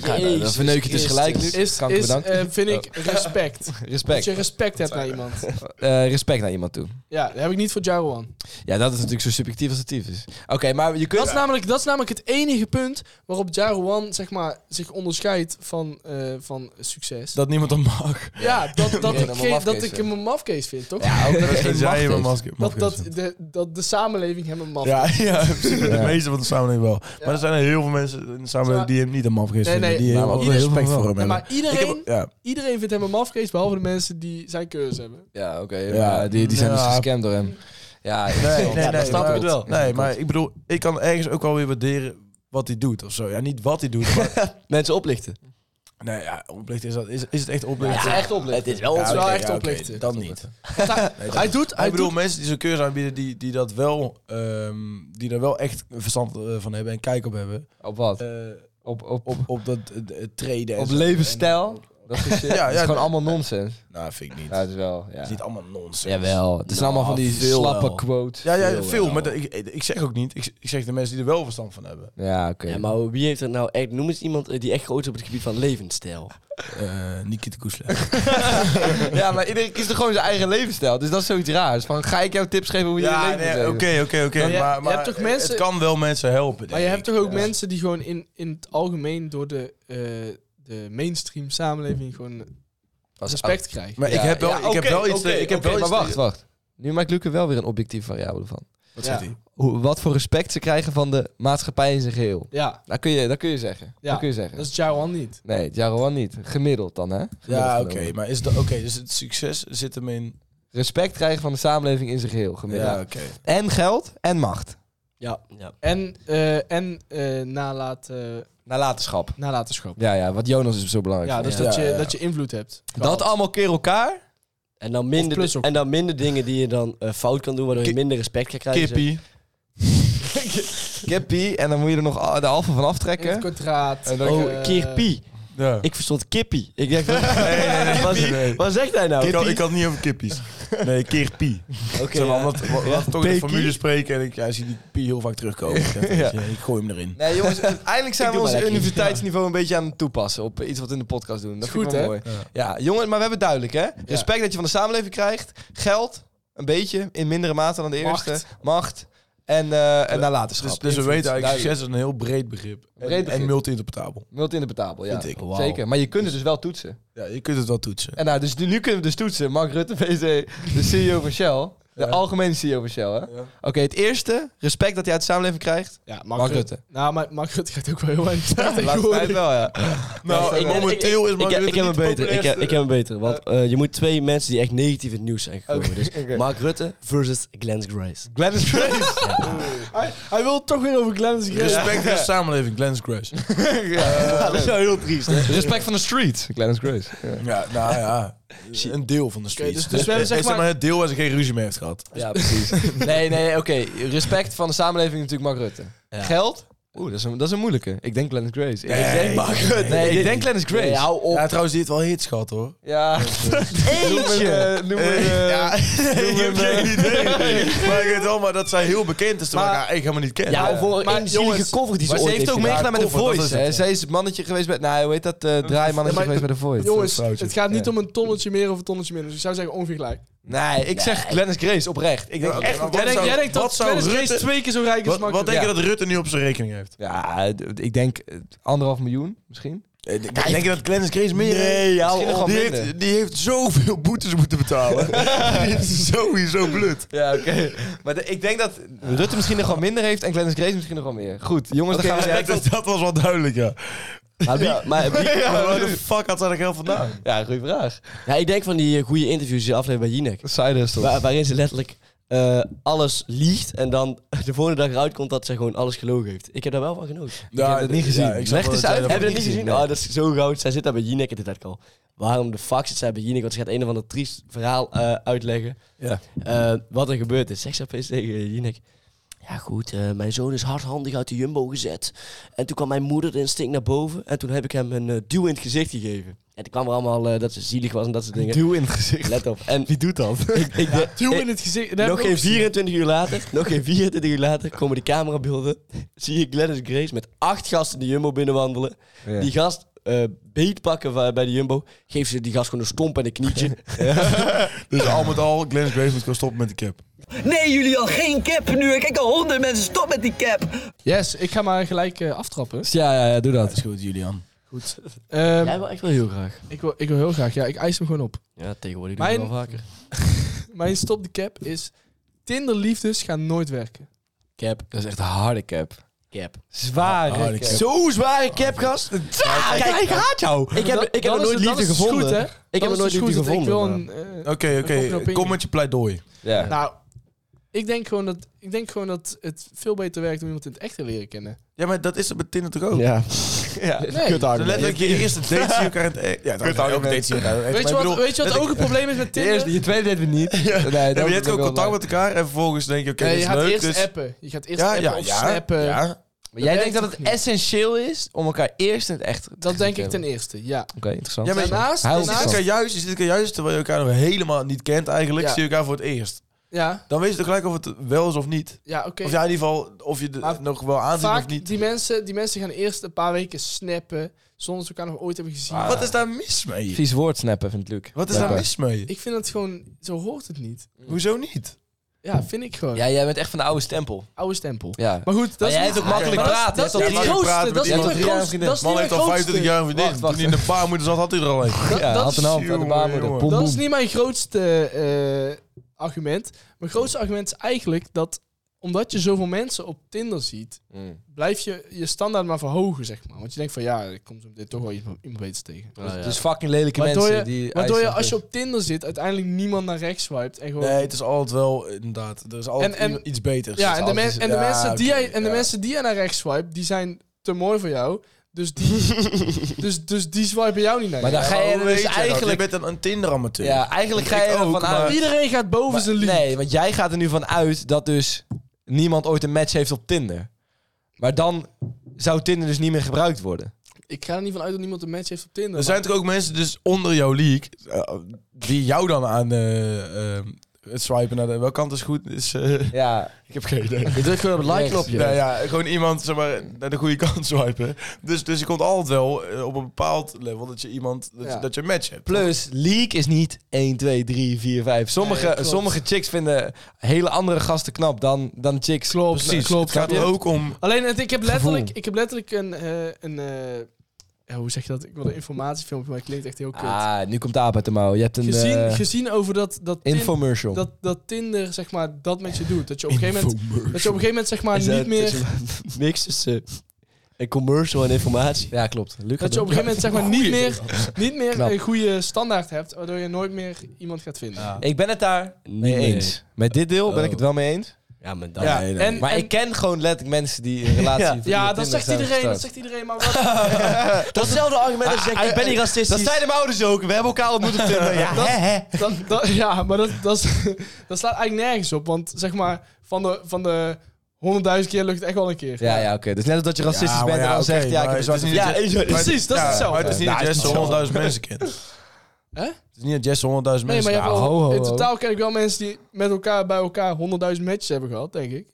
Speaker 2: Ja, nou, dan verneuk je het dus gelijk, Luc.
Speaker 4: Is,
Speaker 2: Kanker
Speaker 4: is
Speaker 2: bedankt.
Speaker 4: eh, vind ik respect. Dat
Speaker 2: Respect.
Speaker 4: je respect hebt naar iemand.
Speaker 2: Eh, respect naar iemand toe.
Speaker 4: Ja, dat heb ik niet voor Jaroan.
Speaker 2: Ja, dat is natuurlijk zo subjectief als het tief is. Oké, maar je
Speaker 4: Dat
Speaker 2: kunt...
Speaker 4: is, namelijk, dat is namelijk het enige punt waarop Jaruan zeg maar, zich onderscheidt van, eh, van succes.
Speaker 3: Dat niemand hem mag.
Speaker 4: ja, dat, dat,
Speaker 2: dat
Speaker 4: ik,
Speaker 2: hem
Speaker 4: geen-
Speaker 2: mafkees
Speaker 4: dat ik
Speaker 2: vindt.
Speaker 4: hem een mafcase vind, toch?
Speaker 2: Ja, ook dat
Speaker 3: Dat
Speaker 2: je geen
Speaker 3: vind jij hem
Speaker 2: macht
Speaker 3: een
Speaker 2: heeft.
Speaker 3: masker.
Speaker 4: Dat, dat, de, dat de samenleving hem een maf
Speaker 3: Ja, ja, in principe de
Speaker 2: Ja.
Speaker 3: meeste van de samenleving wel. Maar er zijn er heel veel mensen in de samenleving die hem niet een mafgeest
Speaker 4: Nee,
Speaker 3: vinden.
Speaker 4: nee.
Speaker 3: die
Speaker 4: Nou,
Speaker 3: heel
Speaker 4: maar
Speaker 3: veel
Speaker 4: ieder-
Speaker 3: respect voor hem
Speaker 4: Ja,
Speaker 3: hebben.
Speaker 4: maar
Speaker 3: Ik
Speaker 4: iedereen,
Speaker 3: heb- ja.
Speaker 4: iedereen vindt hem een mafcase, behalve de mensen die zijn keuze hebben.
Speaker 2: Ja, oké.
Speaker 3: Ja.
Speaker 2: maar die, die zijn dus
Speaker 3: Ja.
Speaker 2: gescamd door hem. Ja,
Speaker 3: Nee, nee,
Speaker 2: ja,
Speaker 3: nee,
Speaker 2: dat snap
Speaker 3: maar-
Speaker 2: ik het wel.
Speaker 3: Nee, maar ik bedoel, ik kan ergens ook wel weer waarderen wat hij doet of zo. Ja, niet wat hij doet, maar...
Speaker 5: Mensen oplichten.
Speaker 3: nee, ja, oplichten is dat... Is, is het echt
Speaker 5: Het
Speaker 3: oplichten?
Speaker 5: is echt oplichten. Het is wel
Speaker 3: Ja,
Speaker 4: is wel
Speaker 3: oké,
Speaker 4: echt
Speaker 3: ja, oké,
Speaker 4: oplichten.
Speaker 3: Dan niet.
Speaker 4: hij doet, hij
Speaker 3: ik bedoel,
Speaker 4: doet-
Speaker 3: mensen die zo'n cursus aanbieden, die, die dat wel... ehm, die daar wel echt verstand eh, van hebben en kijk op hebben.
Speaker 2: Op wat?
Speaker 3: Eh,
Speaker 2: Op, op,
Speaker 3: op, op dat eh, eh, treden en
Speaker 2: op
Speaker 3: zo.
Speaker 2: levensstijl? Dat soort shit.
Speaker 3: ja,
Speaker 2: Het is gewoon
Speaker 3: nee.
Speaker 2: allemaal nonsens.
Speaker 3: En- nou, vind ik niet.
Speaker 2: Ja, het is wel.
Speaker 3: Het
Speaker 2: Ja.
Speaker 3: is niet allemaal nonsens.
Speaker 5: Jawel.
Speaker 2: Het zijn allemaal van die
Speaker 5: veel
Speaker 2: slappe
Speaker 5: wel.
Speaker 2: quotes.
Speaker 3: Nou, Ja, ja,
Speaker 5: Veel
Speaker 3: veel.
Speaker 5: wel.
Speaker 3: maar dat- ik, ik zeg ook niet. Ik, ik zeg de mensen die er wel verstand van hebben.
Speaker 2: Ja, oké.
Speaker 5: Ja, maar wie heeft er nou echt... Noem eens iemand eh, die echt groot is op het gebied van levensstijl.
Speaker 3: Eh Nikita Koesler.
Speaker 2: Ja, maar iedereen kiest er gewoon zijn eigen levensstijl. Dus dat is zoiets raars. Van, ga ik jou tips geven hoe je je
Speaker 3: ja,
Speaker 2: leven moet
Speaker 3: nee,
Speaker 2: leven?
Speaker 3: oké, oké, oké.
Speaker 4: Maar je-
Speaker 3: Maar
Speaker 4: je
Speaker 3: maar
Speaker 4: hebt toch
Speaker 3: het-
Speaker 4: mensen-
Speaker 3: het kan wel mensen helpen,
Speaker 4: maar
Speaker 3: denk
Speaker 4: je
Speaker 3: ik.
Speaker 4: hebt toch ook
Speaker 2: ja.
Speaker 4: mensen die gewoon in, in het algemeen door de, eh, de mainstream samenleving gewoon
Speaker 2: Als-
Speaker 4: respect krijgen.
Speaker 3: Maar ik
Speaker 2: Ja,
Speaker 3: heb wel,
Speaker 2: ja,
Speaker 3: ik heb
Speaker 2: oké,
Speaker 3: wel iets...
Speaker 2: oké,
Speaker 3: ik heb
Speaker 2: oké,
Speaker 3: wel iets
Speaker 2: maar wacht, wacht. Nu maakt Luc er wel weer een objectieve variabele van.
Speaker 3: Wat
Speaker 4: Ja.
Speaker 3: zegt hij?
Speaker 2: Hoe, wat voor respect ze krijgen van de maatschappij in zijn geheel.
Speaker 4: Ja,
Speaker 2: Dat kun je, dat kun je zeggen.
Speaker 4: Ja,
Speaker 2: dat kun je
Speaker 4: dat
Speaker 2: zeggen.
Speaker 4: is Jawan niet.
Speaker 2: Nee, Jaroan niet. Gemiddeld dan, hè? Gemiddeld
Speaker 3: Ja, oké.
Speaker 2: genomen.
Speaker 3: maar is dat... Oké, dus het succes zit hem in...
Speaker 2: Respect krijgen van de samenleving in zijn geheel.
Speaker 3: Ja,
Speaker 2: Gemiddeld.
Speaker 3: oké.
Speaker 2: En geld en macht.
Speaker 5: Ja. ja.
Speaker 4: En, eh en eh nalaat, eh,
Speaker 2: Nalatenschap.
Speaker 4: nalatenschap.
Speaker 2: Ja, ja, wat Jonas is zo belangrijk.
Speaker 4: Ja,
Speaker 2: vindt.
Speaker 4: dus
Speaker 3: Ja,
Speaker 4: dat, je,
Speaker 3: ja, ja.
Speaker 4: dat je invloed hebt.
Speaker 2: Dat allemaal keer elkaar.
Speaker 5: En dan,
Speaker 4: Of
Speaker 5: minder,
Speaker 4: plus ook.
Speaker 5: en dan minder dingen die je dan eh, fout kan doen, waardoor je
Speaker 3: Ki-
Speaker 5: minder respect kan krijgen.
Speaker 3: Kippie.
Speaker 2: Kippie. En dan moet je er nog al- de halve van aftrekken.
Speaker 4: Het kwadraat.
Speaker 2: En dan-
Speaker 5: Oh,
Speaker 4: eh,
Speaker 5: kirpie.
Speaker 3: Ja.
Speaker 5: Ik verstond kippie. Ik dacht, wat,
Speaker 3: nee.
Speaker 5: wat zegt hij nou?
Speaker 3: Ik had, ik had niet over kippies. Nee, keer pie.
Speaker 5: Oké,
Speaker 3: Zeg maar,
Speaker 5: ja.
Speaker 3: omdat we laten toch in de
Speaker 2: Pekie.
Speaker 3: formule spreken en ik ja, zie die pie heel vaak terugkomen. Ik dacht, weet je, ik gooi hem erin.
Speaker 2: Nee, jongens, uiteindelijk zijn
Speaker 5: Ik
Speaker 2: we
Speaker 5: doe maar
Speaker 2: ons
Speaker 5: lekker.
Speaker 2: universiteitsniveau een beetje aan het toepassen op iets wat we in de podcast doen. Dat
Speaker 4: Is
Speaker 2: vind ik
Speaker 4: goed,
Speaker 2: wel mooi. Ja. jongens, maar we hebben het duidelijk, hè? Respect dat je van de samenleving krijgt, geld, een beetje, in mindere mate dan de
Speaker 4: Macht.
Speaker 2: eerste, macht en, eh en nalatenschap.
Speaker 3: Dus, dus we
Speaker 2: Invloed,
Speaker 3: weten eigenlijk,
Speaker 2: duidelijk.
Speaker 3: succes is een heel breed begrip. En-
Speaker 2: Breed begrip.
Speaker 3: En multi-interpretabel.
Speaker 2: Multi-interpretabel, ja.
Speaker 3: Vind ik.
Speaker 5: Wauw.
Speaker 2: Zeker, maar je kunt het dus wel toetsen.
Speaker 3: Ja, je kunt het wel toetsen.
Speaker 2: En nou, dus nu, nu kunnen we dus toetsen. Mark Rutte, VC, de CEO van Shell. De algemene CEO van Shell, hè? Oké, het eerste, respect dat hij uit de samenleving krijgt.
Speaker 4: Ja, Mark,
Speaker 2: Mark
Speaker 4: Rutte.
Speaker 2: Rutte.
Speaker 4: Nou, maar Mark Rutte gaat ook wel heel weinig
Speaker 2: De laatste tijd wel, ja.
Speaker 3: Nou,
Speaker 5: ik- ik-
Speaker 3: momenteel is
Speaker 5: Ik,
Speaker 3: Mark
Speaker 5: heb- ik
Speaker 3: Rutte
Speaker 5: heb een
Speaker 3: niet
Speaker 5: beter. Ik, heb-
Speaker 3: populairste-
Speaker 5: ik heb een beter. Want eh, je moet twee mensen die echt negatief in het nieuws zijn gekomen. Dus
Speaker 2: oké.
Speaker 5: Mark Rutte versus Glenn Grace.
Speaker 2: Gladys Grace.
Speaker 4: Hij, hij wil het toch weer over Glennis
Speaker 3: Respect voor de samenleving, Glenn's Grace.
Speaker 5: dat is wel heel triest. hè?
Speaker 2: respect van de street. Gladys Grace. Ja.
Speaker 3: Ja, nou ja. Een deel van de streets.
Speaker 4: dus- dus we hebben zeg
Speaker 3: Is dat
Speaker 4: maar-
Speaker 3: maar het deel waar ze geen ruzie mee heeft gehad.
Speaker 2: Ja, precies. Nee, nee, oké. Respect van de samenleving natuurlijk Mark Rutte.
Speaker 5: Ja.
Speaker 2: Geld? Oeh, dat is, een, dat is een moeilijke. Ik denk Gladys Grace. ik denk
Speaker 3: Mark Rutte.
Speaker 2: Nee, ik denk Gladys Grace.
Speaker 5: Nee,
Speaker 2: Ja.
Speaker 5: hou op.
Speaker 3: Ja, trouwens, die heeft wel hits gehad hoor.
Speaker 2: Eentje. Noem
Speaker 3: Eh,
Speaker 2: eh,
Speaker 3: ja,
Speaker 2: me...
Speaker 3: ik heb geen idee. maar ik weet wel, maar dat zij heel bekend is. Terwijl
Speaker 2: Maar-
Speaker 3: ik haar echt helemaal niet ken.
Speaker 5: Ja,
Speaker 3: Ja.
Speaker 5: voor
Speaker 2: eh, maar
Speaker 5: een zielige
Speaker 2: jongens,
Speaker 5: cover die ze
Speaker 2: Maar ze
Speaker 5: ooit
Speaker 2: heeft ook
Speaker 5: gedaan.
Speaker 2: meegedaan met de
Speaker 3: Koffer, dat is
Speaker 2: Voice.
Speaker 3: het,
Speaker 2: hè.
Speaker 3: ja.
Speaker 2: Zij is mannetje geweest met... Nou, hoe heet dat? eh draaimannetje
Speaker 4: maar-
Speaker 2: geweest bij de Voice.
Speaker 4: Jongens,
Speaker 3: Foutje.
Speaker 4: het gaat niet om een tonnetje meer of een tonnetje minder. Dus ik zou zeggen ongeveer gelijk.
Speaker 2: Nee, ik zeg Glennis Grace oprecht. Ik denk
Speaker 3: Ja, oké,
Speaker 2: echt...
Speaker 3: maar
Speaker 4: Jij
Speaker 3: Wat
Speaker 4: denkt,
Speaker 3: zou-
Speaker 4: jij denkt dat
Speaker 3: wat zou
Speaker 4: Glennis Grace
Speaker 3: Rutte-
Speaker 4: twee keer zo rijk is als
Speaker 3: Wat,
Speaker 4: Mark
Speaker 3: wat denk je
Speaker 2: Ja.
Speaker 3: dat Rutte nu op zijn rekening heeft?
Speaker 2: Ja, d- ik denk eh, anderhalf miljoen misschien.
Speaker 3: Eh, Denk je dat Glennis Grace meer eh,
Speaker 2: Nee, oh, hou
Speaker 3: Misschien
Speaker 2: op.
Speaker 3: nog wel die,
Speaker 2: minder.
Speaker 3: heeft, die heeft zoveel boetes moeten betalen. die is sowieso blut.
Speaker 2: Ja, oké. Maar de- ik denk dat Rutte misschien nog wel minder heeft en Glennis Grace misschien nog wel meer. Goed, jongens,
Speaker 3: Oké,
Speaker 2: dan gaan we
Speaker 3: respect, dat, dat was wel duidelijk, ja.
Speaker 5: Maar wie- maar wie-
Speaker 3: Maar waar de fuck had zij dat geld vandaan?
Speaker 2: Ja, goede vraag.
Speaker 5: Ja, ik denk van die eh, goede interviews die ze afleveren bij Jinek.
Speaker 2: Siders toch?
Speaker 5: Waar- waarin ze letterlijk eh, alles liegt en dan de volgende dag eruit komt dat ze gewoon alles gelogen heeft. Ik heb daar wel van genoten.
Speaker 2: heb het niet gezien.
Speaker 3: ik
Speaker 2: Leg
Speaker 3: snap wel
Speaker 2: eens
Speaker 3: dat eh, jij
Speaker 2: uit.
Speaker 3: dat-
Speaker 5: Hebben we dat
Speaker 2: niet
Speaker 5: niet gezien?
Speaker 2: gezien,
Speaker 5: Oh,
Speaker 2: nee.
Speaker 5: dat is zo goud. Zij zit daar bij Jinek en dit ik al. Waarom de fuck zit zij bij Jinek? Want ze gaat een of ander triest verhaal eh, uitleggen.
Speaker 2: Ja.
Speaker 5: Eh, wat er gebeurd is. Zeg ze opeens tegen Jinek. Ja goed, eh, mijn zoon is hardhandig uit de jumbo gezet. En toen kwam mijn moeder het instinct naar boven. En toen heb ik hem een eh, duw in het gezicht gegeven. En toen kwam er allemaal eh, dat ze zielig was en dat soort dingen.
Speaker 2: Duw in het gezicht.
Speaker 5: Let op. En
Speaker 2: Wie doet dat?
Speaker 5: ik, ik, denk-
Speaker 4: Duw
Speaker 5: ik-
Speaker 4: in het gezicht. dat heb
Speaker 5: nog
Speaker 4: ik ook
Speaker 5: geen
Speaker 4: gezien.
Speaker 5: 24 uur later, nog geen 24 uur later komen de camerabeelden. Zie je Glennis Grace met acht gasten de Jumbo binnenwandelen. Die gast eh, eh, beetpakken wa- bij de Jumbo. Geef ze die gast gewoon een stomp en een knietje.
Speaker 3: Dus al met al, Glennis Grace moet gewoon stoppen met die cap.
Speaker 6: Nee, jullie al geen cap nu. Kijk al honderd mensen, stop met die cap.
Speaker 4: Yes, ik ga maar gelijk eh, aftrappen.
Speaker 2: Ja, ja, ja, doe dat.
Speaker 3: is goed, Julian.
Speaker 4: Goed. Ehm,
Speaker 5: Jij wil echt wel heel graag.
Speaker 4: ik, wil, ik wil heel graag, ja, ik eis hem gewoon op.
Speaker 5: Ja, tegenwoordig
Speaker 4: doe
Speaker 5: doe
Speaker 4: ik
Speaker 5: ik
Speaker 4: Mijn-
Speaker 5: wel vaker.
Speaker 4: Mijn stop de cap is... Tinderliefdes gaan nooit werken.
Speaker 5: Cap.
Speaker 2: Dat is echt een harde cap.
Speaker 5: Cap.
Speaker 2: Oh, Zware
Speaker 3: Harde cap.
Speaker 5: Zo zware cap, gast. Ja, kijk,
Speaker 2: Kijk, ik haat jou.
Speaker 5: ik heb, ik heb er
Speaker 4: Dan is
Speaker 5: nooit
Speaker 4: het- dan
Speaker 5: liefde
Speaker 4: is het dus
Speaker 5: gevonden.
Speaker 4: Goed, hè?
Speaker 5: Ik heb er
Speaker 4: Dan
Speaker 5: nooit
Speaker 4: is het
Speaker 5: liefde
Speaker 4: dus goed dat ik wil
Speaker 5: gevonden.
Speaker 4: een, eh,
Speaker 3: Oké,
Speaker 4: Een
Speaker 3: oké.
Speaker 4: opinie.
Speaker 3: Kom met je pleidooi.
Speaker 2: Ja.
Speaker 4: Nou, ik denk, gewoon dat, ik denk gewoon dat het veel beter werkt om iemand in het echt te leren kennen.
Speaker 3: Ja, maar dat is het met Tinder toch ook?
Speaker 2: Ja.
Speaker 4: Nee.
Speaker 2: Kut
Speaker 3: Dus letterlijk je eerste date zie je elkaar in het echt. Ja, trouwens, elke date zie je elkaar in het echt.
Speaker 4: Weet je,
Speaker 3: Maar
Speaker 4: wat,
Speaker 3: ik bedoel,
Speaker 4: weet je wat ook het probleem is met
Speaker 2: De
Speaker 4: Tinder?
Speaker 2: eerste, je tweede deed we niet. Nee,
Speaker 3: Dan
Speaker 2: dat
Speaker 3: heb je hebt ook contact met elkaar en vervolgens denk je, oké,
Speaker 4: Nee,
Speaker 3: dit
Speaker 4: je
Speaker 3: is
Speaker 4: gaat
Speaker 3: leuk.
Speaker 4: eerst
Speaker 3: dus-
Speaker 4: appen. Je gaat eerst
Speaker 3: Ja,
Speaker 4: appen
Speaker 3: ja,
Speaker 4: of
Speaker 3: ja,
Speaker 4: snappen.
Speaker 3: ja.
Speaker 2: Maar jij denkt
Speaker 4: Dat werkt
Speaker 2: dat het
Speaker 4: toch niet?
Speaker 2: essentieel is om elkaar eerst in het echt te
Speaker 4: Dat denk ik ten
Speaker 2: hebben?
Speaker 4: eerste, ja.
Speaker 2: Oké, interessant.
Speaker 3: Ja, maar
Speaker 4: daarnaast-
Speaker 2: Heel
Speaker 3: Je zit,
Speaker 4: daarnaast-
Speaker 2: interessant.
Speaker 3: elkaar juist, je zit elkaar juist terwijl je elkaar nog helemaal niet kent eigenlijk,
Speaker 4: Ja.
Speaker 3: zie je elkaar voor het eerst.
Speaker 4: Ja,
Speaker 3: Dan weet je toch gelijk of het wel is of niet.
Speaker 4: ja oké.
Speaker 3: Of ja, in ieder geval of je de-
Speaker 4: Maar
Speaker 3: nog wel aanzien of
Speaker 4: Vaak,
Speaker 3: niet.
Speaker 4: die mensen, die mensen gaan eerst een paar weken snappen, zonder dat ze elkaar nog ooit hebben gezien.
Speaker 3: Ah. Wat is daar mis mee?
Speaker 2: Vies woord snappen, vindt Luc.
Speaker 3: Wat is daar mis mee?
Speaker 4: Ik vind dat gewoon, zo hoort het niet.
Speaker 3: Hoezo niet?
Speaker 4: Ja, vind ik gewoon.
Speaker 2: Ja, jij bent echt van de oude stempel.
Speaker 4: Oude stempel.
Speaker 2: Ja.
Speaker 4: Maar goed, dat
Speaker 2: Maar
Speaker 4: is
Speaker 2: jij
Speaker 4: niet-
Speaker 2: hebt ook makkelijk
Speaker 4: Maar dat is-
Speaker 2: praten,
Speaker 4: Dat
Speaker 2: hè?
Speaker 4: is
Speaker 2: Ja,
Speaker 4: niet
Speaker 2: makkelijk
Speaker 4: het grootste.
Speaker 2: praten
Speaker 4: Dat is niet
Speaker 2: met
Speaker 4: mijn
Speaker 2: iemand.
Speaker 4: grootste.
Speaker 2: Ja,
Speaker 4: Dat is
Speaker 3: Man
Speaker 4: niet mijn
Speaker 3: heeft al
Speaker 4: grootste.
Speaker 3: 25 jaar een vriendin.
Speaker 2: Wacht, wacht.
Speaker 3: Toen hij in de baarmoeder zat, had hij er al een.
Speaker 4: Dat-
Speaker 2: Ja,
Speaker 4: dat
Speaker 2: hand
Speaker 4: is-
Speaker 2: in hand uit de baarmoeder.
Speaker 3: jongen.
Speaker 2: Boem,
Speaker 4: Dat
Speaker 2: boem.
Speaker 4: is niet mijn grootste eh, argument. Mijn grootste argument is eigenlijk dat omdat je zoveel mensen op Tinder ziet,
Speaker 2: Mm.
Speaker 4: blijf je je standaard maar verhogen, zeg maar. Want je denkt van ja, ik kom zo meteen toch wel iemand, iemand beters tegen.
Speaker 5: Ah, ja.
Speaker 2: Dus fucking lelijke
Speaker 4: Waardoor
Speaker 2: mensen.
Speaker 4: je-
Speaker 2: die
Speaker 4: Waardoor je
Speaker 2: eisen-
Speaker 4: als je op Tinder zit, uiteindelijk niemand naar rechts swipet. En gewoon,
Speaker 3: Nee, het is altijd wel, inderdaad. Er is altijd
Speaker 4: En- en-
Speaker 3: i- iets beters.
Speaker 4: ja, en de, men- en de,
Speaker 3: Ja,
Speaker 4: mensen, die
Speaker 3: oké,
Speaker 4: jij, en de
Speaker 3: ja.
Speaker 4: mensen die jij naar rechts swipe, die zijn te mooi voor jou. Dus die, dus, dus die swipen jou niet naar
Speaker 2: Maar
Speaker 4: rechts.
Speaker 2: dan ga je
Speaker 3: hoe weet
Speaker 2: dus
Speaker 3: jij dat?
Speaker 2: eigenlijk...
Speaker 3: Je bent een, een Tinder-amateur.
Speaker 2: Ja, eigenlijk ga je
Speaker 3: Ik ook,
Speaker 2: ervan
Speaker 3: maar-
Speaker 2: uit...
Speaker 4: Iedereen gaat boven zijn lief.
Speaker 2: Nee, want jij gaat er nu van uit dat dus niemand ooit een match heeft op Tinder. Maar dan zou Tinder dus niet meer gebruikt worden.
Speaker 4: Ik ga er niet van uit dat niemand een match heeft op Tinder.
Speaker 3: Er zijn toch ook mensen dus onder jouw league eh, die jou dan aan eh, eh, het swipen naar de welke kant is goed is. eh,
Speaker 2: Ja.
Speaker 3: ik heb geen idee.
Speaker 5: Je drukt gewoon op het like-knopje.
Speaker 3: Nou ja, gewoon iemand zeg maar, naar de goede kant swipen. Dus, dus je komt altijd wel eh, op een bepaald level dat je iemand dat, je-
Speaker 4: Ja.
Speaker 3: dat je een match hebt.
Speaker 2: Plus, Dus leak is niet 1, 2, 3, 4, 5. Sommige,
Speaker 4: Nee, klopt.
Speaker 2: sommige chicks vinden hele andere gasten knap dan, dan chicks.
Speaker 4: Klopt,
Speaker 2: Precies.
Speaker 4: klopt.
Speaker 3: Het gaat er
Speaker 4: Ja.
Speaker 3: ook om.
Speaker 4: Alleen, het, ik, heb letterlijk,
Speaker 2: Gevoel.
Speaker 4: ik heb letterlijk een... eh, een eh, ja, hoe zeg je dat? Ik wil een informatiefilmpje, maar het klinkt echt heel kut.
Speaker 2: Ah, nu komt de aap uit de mouw. Je hebt een
Speaker 4: gezien,
Speaker 2: eh,
Speaker 4: gezien over dat, dat, Tin-
Speaker 2: infomercial.
Speaker 4: dat, dat Tinder, zeg maar, dat met je doet. Dat je op een gegeven moment, dat je op een gegeven moment zeg maar, niet meer...
Speaker 5: Mix tussen en commercial en informatie.
Speaker 2: ja, klopt. Luc
Speaker 4: Dat
Speaker 2: gaat
Speaker 4: je op
Speaker 2: doen.
Speaker 4: een gegeven moment zeg maar, niet meer, niet meer
Speaker 2: Knap.
Speaker 4: een goede standaard hebt, waardoor je nooit meer iemand gaat vinden.
Speaker 2: Ik ben het daar mee
Speaker 5: Nee.
Speaker 2: eens. Met dit deel ben ik het wel mee eens.
Speaker 5: Ja, maar dan...
Speaker 3: Ja,
Speaker 4: En,
Speaker 2: Maar
Speaker 4: en-
Speaker 2: ik ken gewoon letterlijk mensen die een relatie... via
Speaker 5: Ja.
Speaker 4: ja,
Speaker 2: Tinder
Speaker 4: dat zegt
Speaker 2: zijn
Speaker 4: iedereen, dat
Speaker 2: gestart.
Speaker 4: zegt iedereen. Maar wat,
Speaker 5: Dat is hetzelfde argument als je zegt, ik ben niet racistisch.
Speaker 2: Dat zeiden mijn ouders ook. We hebben elkaar ontmoet op Tinder. Ja, hè, hè.
Speaker 4: dat, dat- ja, maar dat, dat, is- dat slaat eigenlijk nergens op. Want zeg maar, van de, van de 100.000 keer lukt het echt wel een keer.
Speaker 2: Ja, ja, oké. Dus net als dat je racistisch
Speaker 3: maar
Speaker 2: bent en
Speaker 3: ja,
Speaker 2: dan
Speaker 3: oké,
Speaker 2: zegt... Ja, ik
Speaker 3: maar
Speaker 2: heb een
Speaker 3: het
Speaker 2: zwarte
Speaker 3: is niet
Speaker 2: vriend.
Speaker 3: dat je-
Speaker 2: Ja,
Speaker 3: maar het-
Speaker 4: Precies, dat is
Speaker 3: ja,
Speaker 4: hetzelfde.
Speaker 3: maar het is niet
Speaker 2: Ja,
Speaker 3: dat
Speaker 2: het is
Speaker 3: Jesse 100.000 mensen kent.
Speaker 4: Hè?
Speaker 3: Het is niet dat Jesse 100.000
Speaker 4: Nee,
Speaker 3: mensen
Speaker 4: maar je hebt wel-
Speaker 2: ho, ho,
Speaker 4: in
Speaker 2: ho.
Speaker 4: totaal ken ik wel mensen die met elkaar bij elkaar 100.000 matches hebben gehad, denk ik.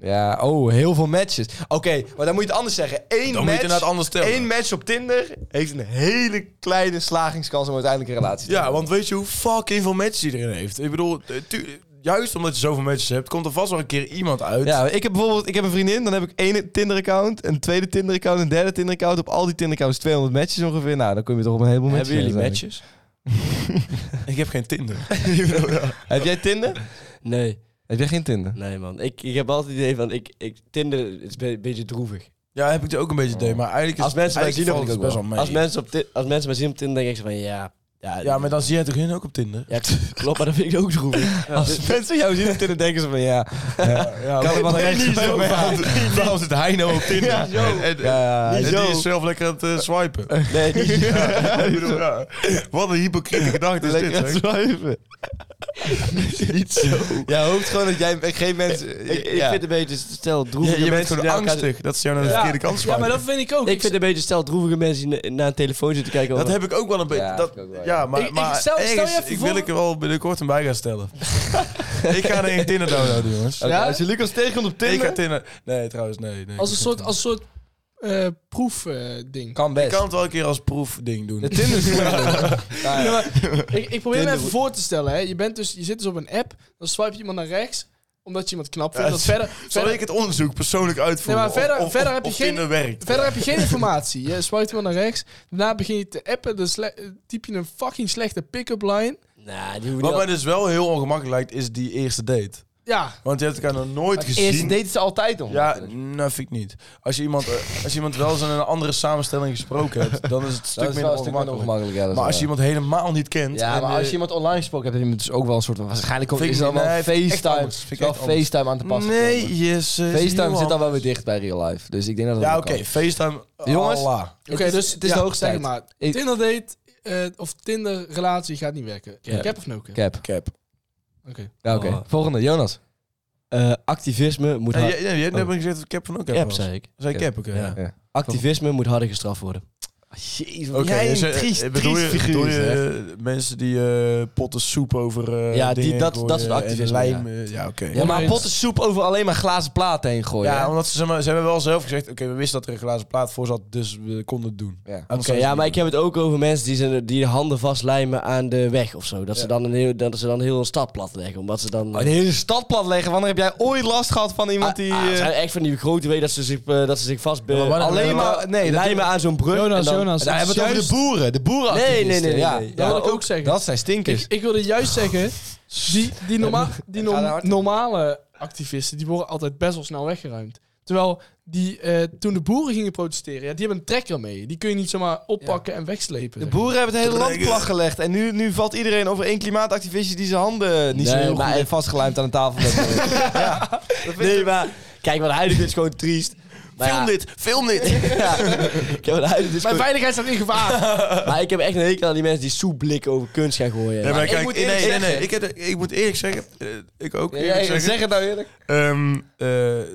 Speaker 2: Ja, oh, heel veel matches. Oké, maar dan moet je het anders zeggen. Eén
Speaker 3: Dan moet je het
Speaker 2: match,
Speaker 3: inderdaad anders stellen.
Speaker 2: één match op Tinder heeft een hele kleine slagingskans om uiteindelijk een relatie te
Speaker 3: Ja, want weet je hoe fucking veel matches iedereen heeft? Ik bedoel, eh, tu- juist omdat je zoveel matches hebt, komt er vast wel een keer iemand uit.
Speaker 2: Ja, ik heb bijvoorbeeld ik heb een vriendin, dan heb ik één Tinder-account, een tweede Tinder-account, een derde Tinder-account. Op al die Tinder-accounts 200 matches ongeveer. Nou, dan kom je toch op een heleboel matches.
Speaker 5: Hebben jullie
Speaker 2: heen,
Speaker 5: matches?
Speaker 3: Ik heb geen Tinder.
Speaker 2: uiteindelijk. Heb jij Tinder?
Speaker 5: Nee,
Speaker 2: Heb jij geen Tinder?
Speaker 5: nee man. Ik, ik heb altijd het idee van, ik, ik, Tinder het is be- een beetje droevig.
Speaker 3: Ja, heb ik er ook een beetje idee, maar eigenlijk is
Speaker 5: Als mensen mij zien,
Speaker 3: eigenlijk
Speaker 5: dan
Speaker 3: valt het
Speaker 5: ik ook
Speaker 3: best wel
Speaker 5: wel.
Speaker 3: mee.
Speaker 5: Als, mensen op Ti- als mensen mij zien op Tinder, denk ik zo van, ja... Ja,
Speaker 3: Ja, maar dan zie jij toch hun ook op Tinder?
Speaker 5: Ja, klopt, maar dat vind ik ook droevig. Ja, dus-
Speaker 2: Als mensen jou zien op Tinder denken ze van ja,
Speaker 3: Ja,
Speaker 2: kan er wel een rechts
Speaker 3: zo
Speaker 2: mee aan.
Speaker 3: Waarom zit hij nou op Tinder? Ja, en, en-
Speaker 2: Ja,
Speaker 3: en
Speaker 2: niet
Speaker 3: die
Speaker 2: zo.
Speaker 3: is zelf lekker aan het eh, swipen.
Speaker 5: nee, niet zo.
Speaker 3: Ik bedoel, ja, Wat een hypocriete gedachte is dit,
Speaker 2: Lekker aan
Speaker 3: zeg.
Speaker 2: het swipen.
Speaker 5: Niet zo.
Speaker 2: Jij hoopt gewoon dat jij geen mensen...
Speaker 5: Ik, ik
Speaker 2: ja.
Speaker 5: vind een beetje stel droevige
Speaker 3: Je, je bent nou,
Speaker 5: mensen die
Speaker 3: gewoon
Speaker 5: naar elkaar-
Speaker 3: angstig dat ze jou naar de
Speaker 4: Ja.
Speaker 3: verkeerde kant
Speaker 4: Ja,
Speaker 3: swipen.
Speaker 4: maar dat vind ik ook.
Speaker 5: Ik vind een beetje stel droevige mensen die na- naar een telefoon zitten kijken.
Speaker 3: Dat
Speaker 5: over-
Speaker 3: heb ik ook wel een beetje.
Speaker 2: Ja,
Speaker 3: dat,
Speaker 2: ik ook wel, ja.
Speaker 3: ja, maar,
Speaker 4: Ik- ik
Speaker 3: maar
Speaker 4: stel- stel je
Speaker 3: ergens-
Speaker 4: even
Speaker 3: ik
Speaker 4: voor-
Speaker 3: wil ik er wel binnenkort een bij gaan stellen. ik ga er een Tinder downloaden, jongens.
Speaker 2: Oké,
Speaker 4: Ja?
Speaker 2: Als je Lucas tegenkomt op
Speaker 3: Ik
Speaker 2: Tinder...
Speaker 3: ga Tinder... Nee, trouwens, nee. nee
Speaker 4: als een soort, eh, als een soort proefding.
Speaker 2: Kan
Speaker 3: Je
Speaker 2: best.
Speaker 3: kan het wel een keer als proefding doen.
Speaker 2: De Tinder is ja,
Speaker 4: Ja,
Speaker 2: ja.
Speaker 4: maar ik, ik probeer me even
Speaker 2: Tinder.
Speaker 4: voor te stellen. Hè. Je, bent dus, je zit dus op een app, dan swipe je iemand naar rechts, omdat je iemand knap vindt.
Speaker 3: Ja,
Speaker 4: Dat
Speaker 3: het-
Speaker 4: verder,
Speaker 3: Zal
Speaker 4: verder,
Speaker 3: ik het onderzoek persoonlijk uitvoeren?
Speaker 4: Nee, maar verder-
Speaker 3: of, of,
Speaker 4: verder
Speaker 3: of-
Speaker 4: heb je
Speaker 3: of
Speaker 4: geen-
Speaker 3: Tinder werkt.
Speaker 4: verder heb je geen informatie. Je swipe iemand naar rechts, daarna begin je te appen, dan sle- typ je een fucking slechte pick-up line.
Speaker 5: Nou, die hoef
Speaker 3: Wat
Speaker 5: niet
Speaker 3: mij
Speaker 5: al-
Speaker 3: dus wel heel ongemakkelijk lijkt, is die eerste date.
Speaker 4: Ja,
Speaker 3: Want je hebt elkaar nog nooit gezien.
Speaker 2: Eerst deden ze altijd om.
Speaker 3: Ja, nou vind ik niet. Als je iemand, eh, als je iemand wel eens in een andere samenstelling gesproken hebt, dan is het een stuk
Speaker 2: dat is
Speaker 3: minder
Speaker 2: wel een stuk minder
Speaker 3: ongemakkelijk.
Speaker 2: ongemakkelijk. Ja, dat is
Speaker 3: Maar als je
Speaker 2: waar.
Speaker 3: iemand helemaal niet kent...
Speaker 2: Ja,
Speaker 3: en,
Speaker 2: maar als je
Speaker 3: eh,
Speaker 2: iemand online gesproken hebt, heb je dus ook wel een soort van... Waarschijnlijk komt
Speaker 3: Vind
Speaker 2: is
Speaker 3: ik
Speaker 2: dan
Speaker 3: niet-
Speaker 2: wel
Speaker 3: nee, vind ik echt
Speaker 2: FaceTime,
Speaker 3: anders. Vind ik
Speaker 2: wel
Speaker 3: echt anders.
Speaker 2: FaceTime aan te passen.
Speaker 3: Nee,
Speaker 2: gekomen.
Speaker 3: jezus.
Speaker 2: FaceTime
Speaker 3: Johan.
Speaker 2: zit al wel weer dicht bij real life. Dus ik denk dat dat
Speaker 3: Ja,
Speaker 2: wel
Speaker 3: oké,
Speaker 2: kan.
Speaker 3: FaceTime.
Speaker 2: Jongens,
Speaker 3: Allah.
Speaker 4: oké,
Speaker 2: Het is-
Speaker 4: dus
Speaker 2: het is
Speaker 4: ja,
Speaker 2: de hoogste
Speaker 4: zeg
Speaker 2: tijd.
Speaker 4: maar.
Speaker 2: Ik-
Speaker 4: Tinder date eh, of Tinder relatie gaat niet werken.
Speaker 5: Cap.
Speaker 4: Cap of no cap?
Speaker 2: Cap.
Speaker 3: Cap.
Speaker 4: Oké.
Speaker 2: Ja, oké.
Speaker 5: Oh.
Speaker 2: Volgende, Jonas.
Speaker 5: Eh, Activisme moet
Speaker 3: Nee,
Speaker 5: hard...
Speaker 3: jij, jij hebt net
Speaker 2: Oh.
Speaker 3: maar gezegd dat cap van ook cap
Speaker 5: Cap,
Speaker 3: was.
Speaker 5: zei ik.
Speaker 3: Zei cap, oké.
Speaker 5: Ja.
Speaker 3: ja.
Speaker 5: Activisme moet harder gestraft worden.
Speaker 2: Jezus,
Speaker 3: Oké, dus, eh, bedoel je, bedoel je eh, mensen die eh, potten soep over eh,
Speaker 5: Ja, die-
Speaker 3: dingen
Speaker 5: dat-
Speaker 3: gooien
Speaker 5: dat soort
Speaker 3: en
Speaker 5: activisme,
Speaker 3: lijm, eh, ja, oké.
Speaker 2: Ja, maar
Speaker 4: Oneens.
Speaker 2: potten soep over alleen maar glazen platen heen gooien.
Speaker 3: Ja,
Speaker 2: hè?
Speaker 3: omdat ze, zeg maar, ze hebben wel zelf gezegd, oké, we wisten dat er een glazen plaat voor zat, dus we konden het doen.
Speaker 2: Ja.
Speaker 5: Oké, ja, maar ik heb het ook over mensen die, zijn, die de handen vastlijmen aan de weg of zo. Dat, ze, dan een heel, dat ze dan heel een stad platleggen, omdat ze dan...
Speaker 2: Oh, de hele stad platleggen. Wanneer heb jij ooit last gehad van iemand die...
Speaker 5: Ah, ah,
Speaker 2: eh,
Speaker 5: het zijn echt van die grote wegen dat ze zich, eh, dat ze zich vast... eh,
Speaker 2: wanneer-
Speaker 5: alleen
Speaker 2: wanneer-
Speaker 5: maar
Speaker 2: nee, dat-
Speaker 5: lijmen aan zo'n brug.
Speaker 4: Jonas,
Speaker 5: en dan-
Speaker 4: Jonas.
Speaker 2: daar hebben we het over de
Speaker 4: juist-
Speaker 2: boeren. De boeren
Speaker 5: Nee, nee, nee, nee, nee.
Speaker 4: Dat
Speaker 2: Ja,
Speaker 4: wil ik ook zeggen.
Speaker 2: Dat zijn stinkers.
Speaker 4: Ik, ik wilde juist zeggen, die, die, norma die
Speaker 2: Ga
Speaker 4: norm-
Speaker 2: daar hard in.
Speaker 4: normale activisten, die worden altijd best wel snel weggeruimd. Terwijl die, eh, toen de boeren gingen protesteren, ja, die hebben een trekker mee. Die kun je niet zomaar oppakken en wegslepen.
Speaker 2: de
Speaker 4: zeg maar.
Speaker 2: boeren hebben het hele land plat gelegd. En nu, nu valt iedereen over één klimaatactivist die zijn handen niet zo
Speaker 5: Nee,
Speaker 2: heel goed
Speaker 5: maar
Speaker 2: heeft
Speaker 5: ik-
Speaker 2: vastgelijmd aan de tafel. Dat-
Speaker 5: Nee, maar kijk, wat huidig is gewoon triest.
Speaker 2: Nou
Speaker 5: Maar ja,
Speaker 3: dit, film dit!
Speaker 5: ja, kijk, wat huidig is
Speaker 4: Mijn
Speaker 5: gewoon-
Speaker 4: veiligheid staat in gevaar.
Speaker 5: Maar ik heb echt een hekel aan die mensen die soepblikken over kunst gaan gooien.
Speaker 3: Ja, maar
Speaker 2: ik
Speaker 3: kijk,
Speaker 2: moet
Speaker 3: nee,
Speaker 2: eerlijk
Speaker 3: nee,
Speaker 2: zeggen-
Speaker 3: nee, ik, heb, ik moet eerlijk zeggen, eh, ik ook
Speaker 2: Ja,
Speaker 3: eerlijk
Speaker 2: ja,
Speaker 3: zeggen,
Speaker 2: zeg het nou eerlijk.
Speaker 3: ehm, eh,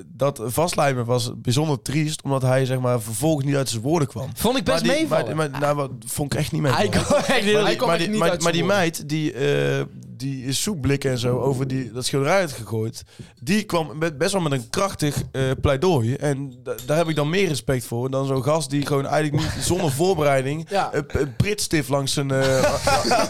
Speaker 3: dat vastlijmen was bijzonder triest, omdat hij zeg maar vervolgens niet uit zijn woorden kwam.
Speaker 2: Vond ik best
Speaker 3: maar die,
Speaker 2: meevallen.
Speaker 3: maar, maar, nou, wat, vond ik echt niet mee.
Speaker 5: Hij kon echt heel...
Speaker 3: Maar
Speaker 4: Hij
Speaker 3: die,
Speaker 4: kwam
Speaker 3: maar
Speaker 4: echt
Speaker 3: die-
Speaker 4: niet
Speaker 3: maar-
Speaker 4: uit
Speaker 3: maar die
Speaker 4: zijn
Speaker 3: meid, die, eh die soepblikken en zo over die, dat schilderij had gegooid, die kwam met, best wel met een krachtig eh, pleidooi. En da- daar heb ik dan meer respect voor dan zo'n gast die gewoon eigenlijk niet zonder voorbereiding
Speaker 4: Ja.
Speaker 3: een, een pritstift langs zijn, eh,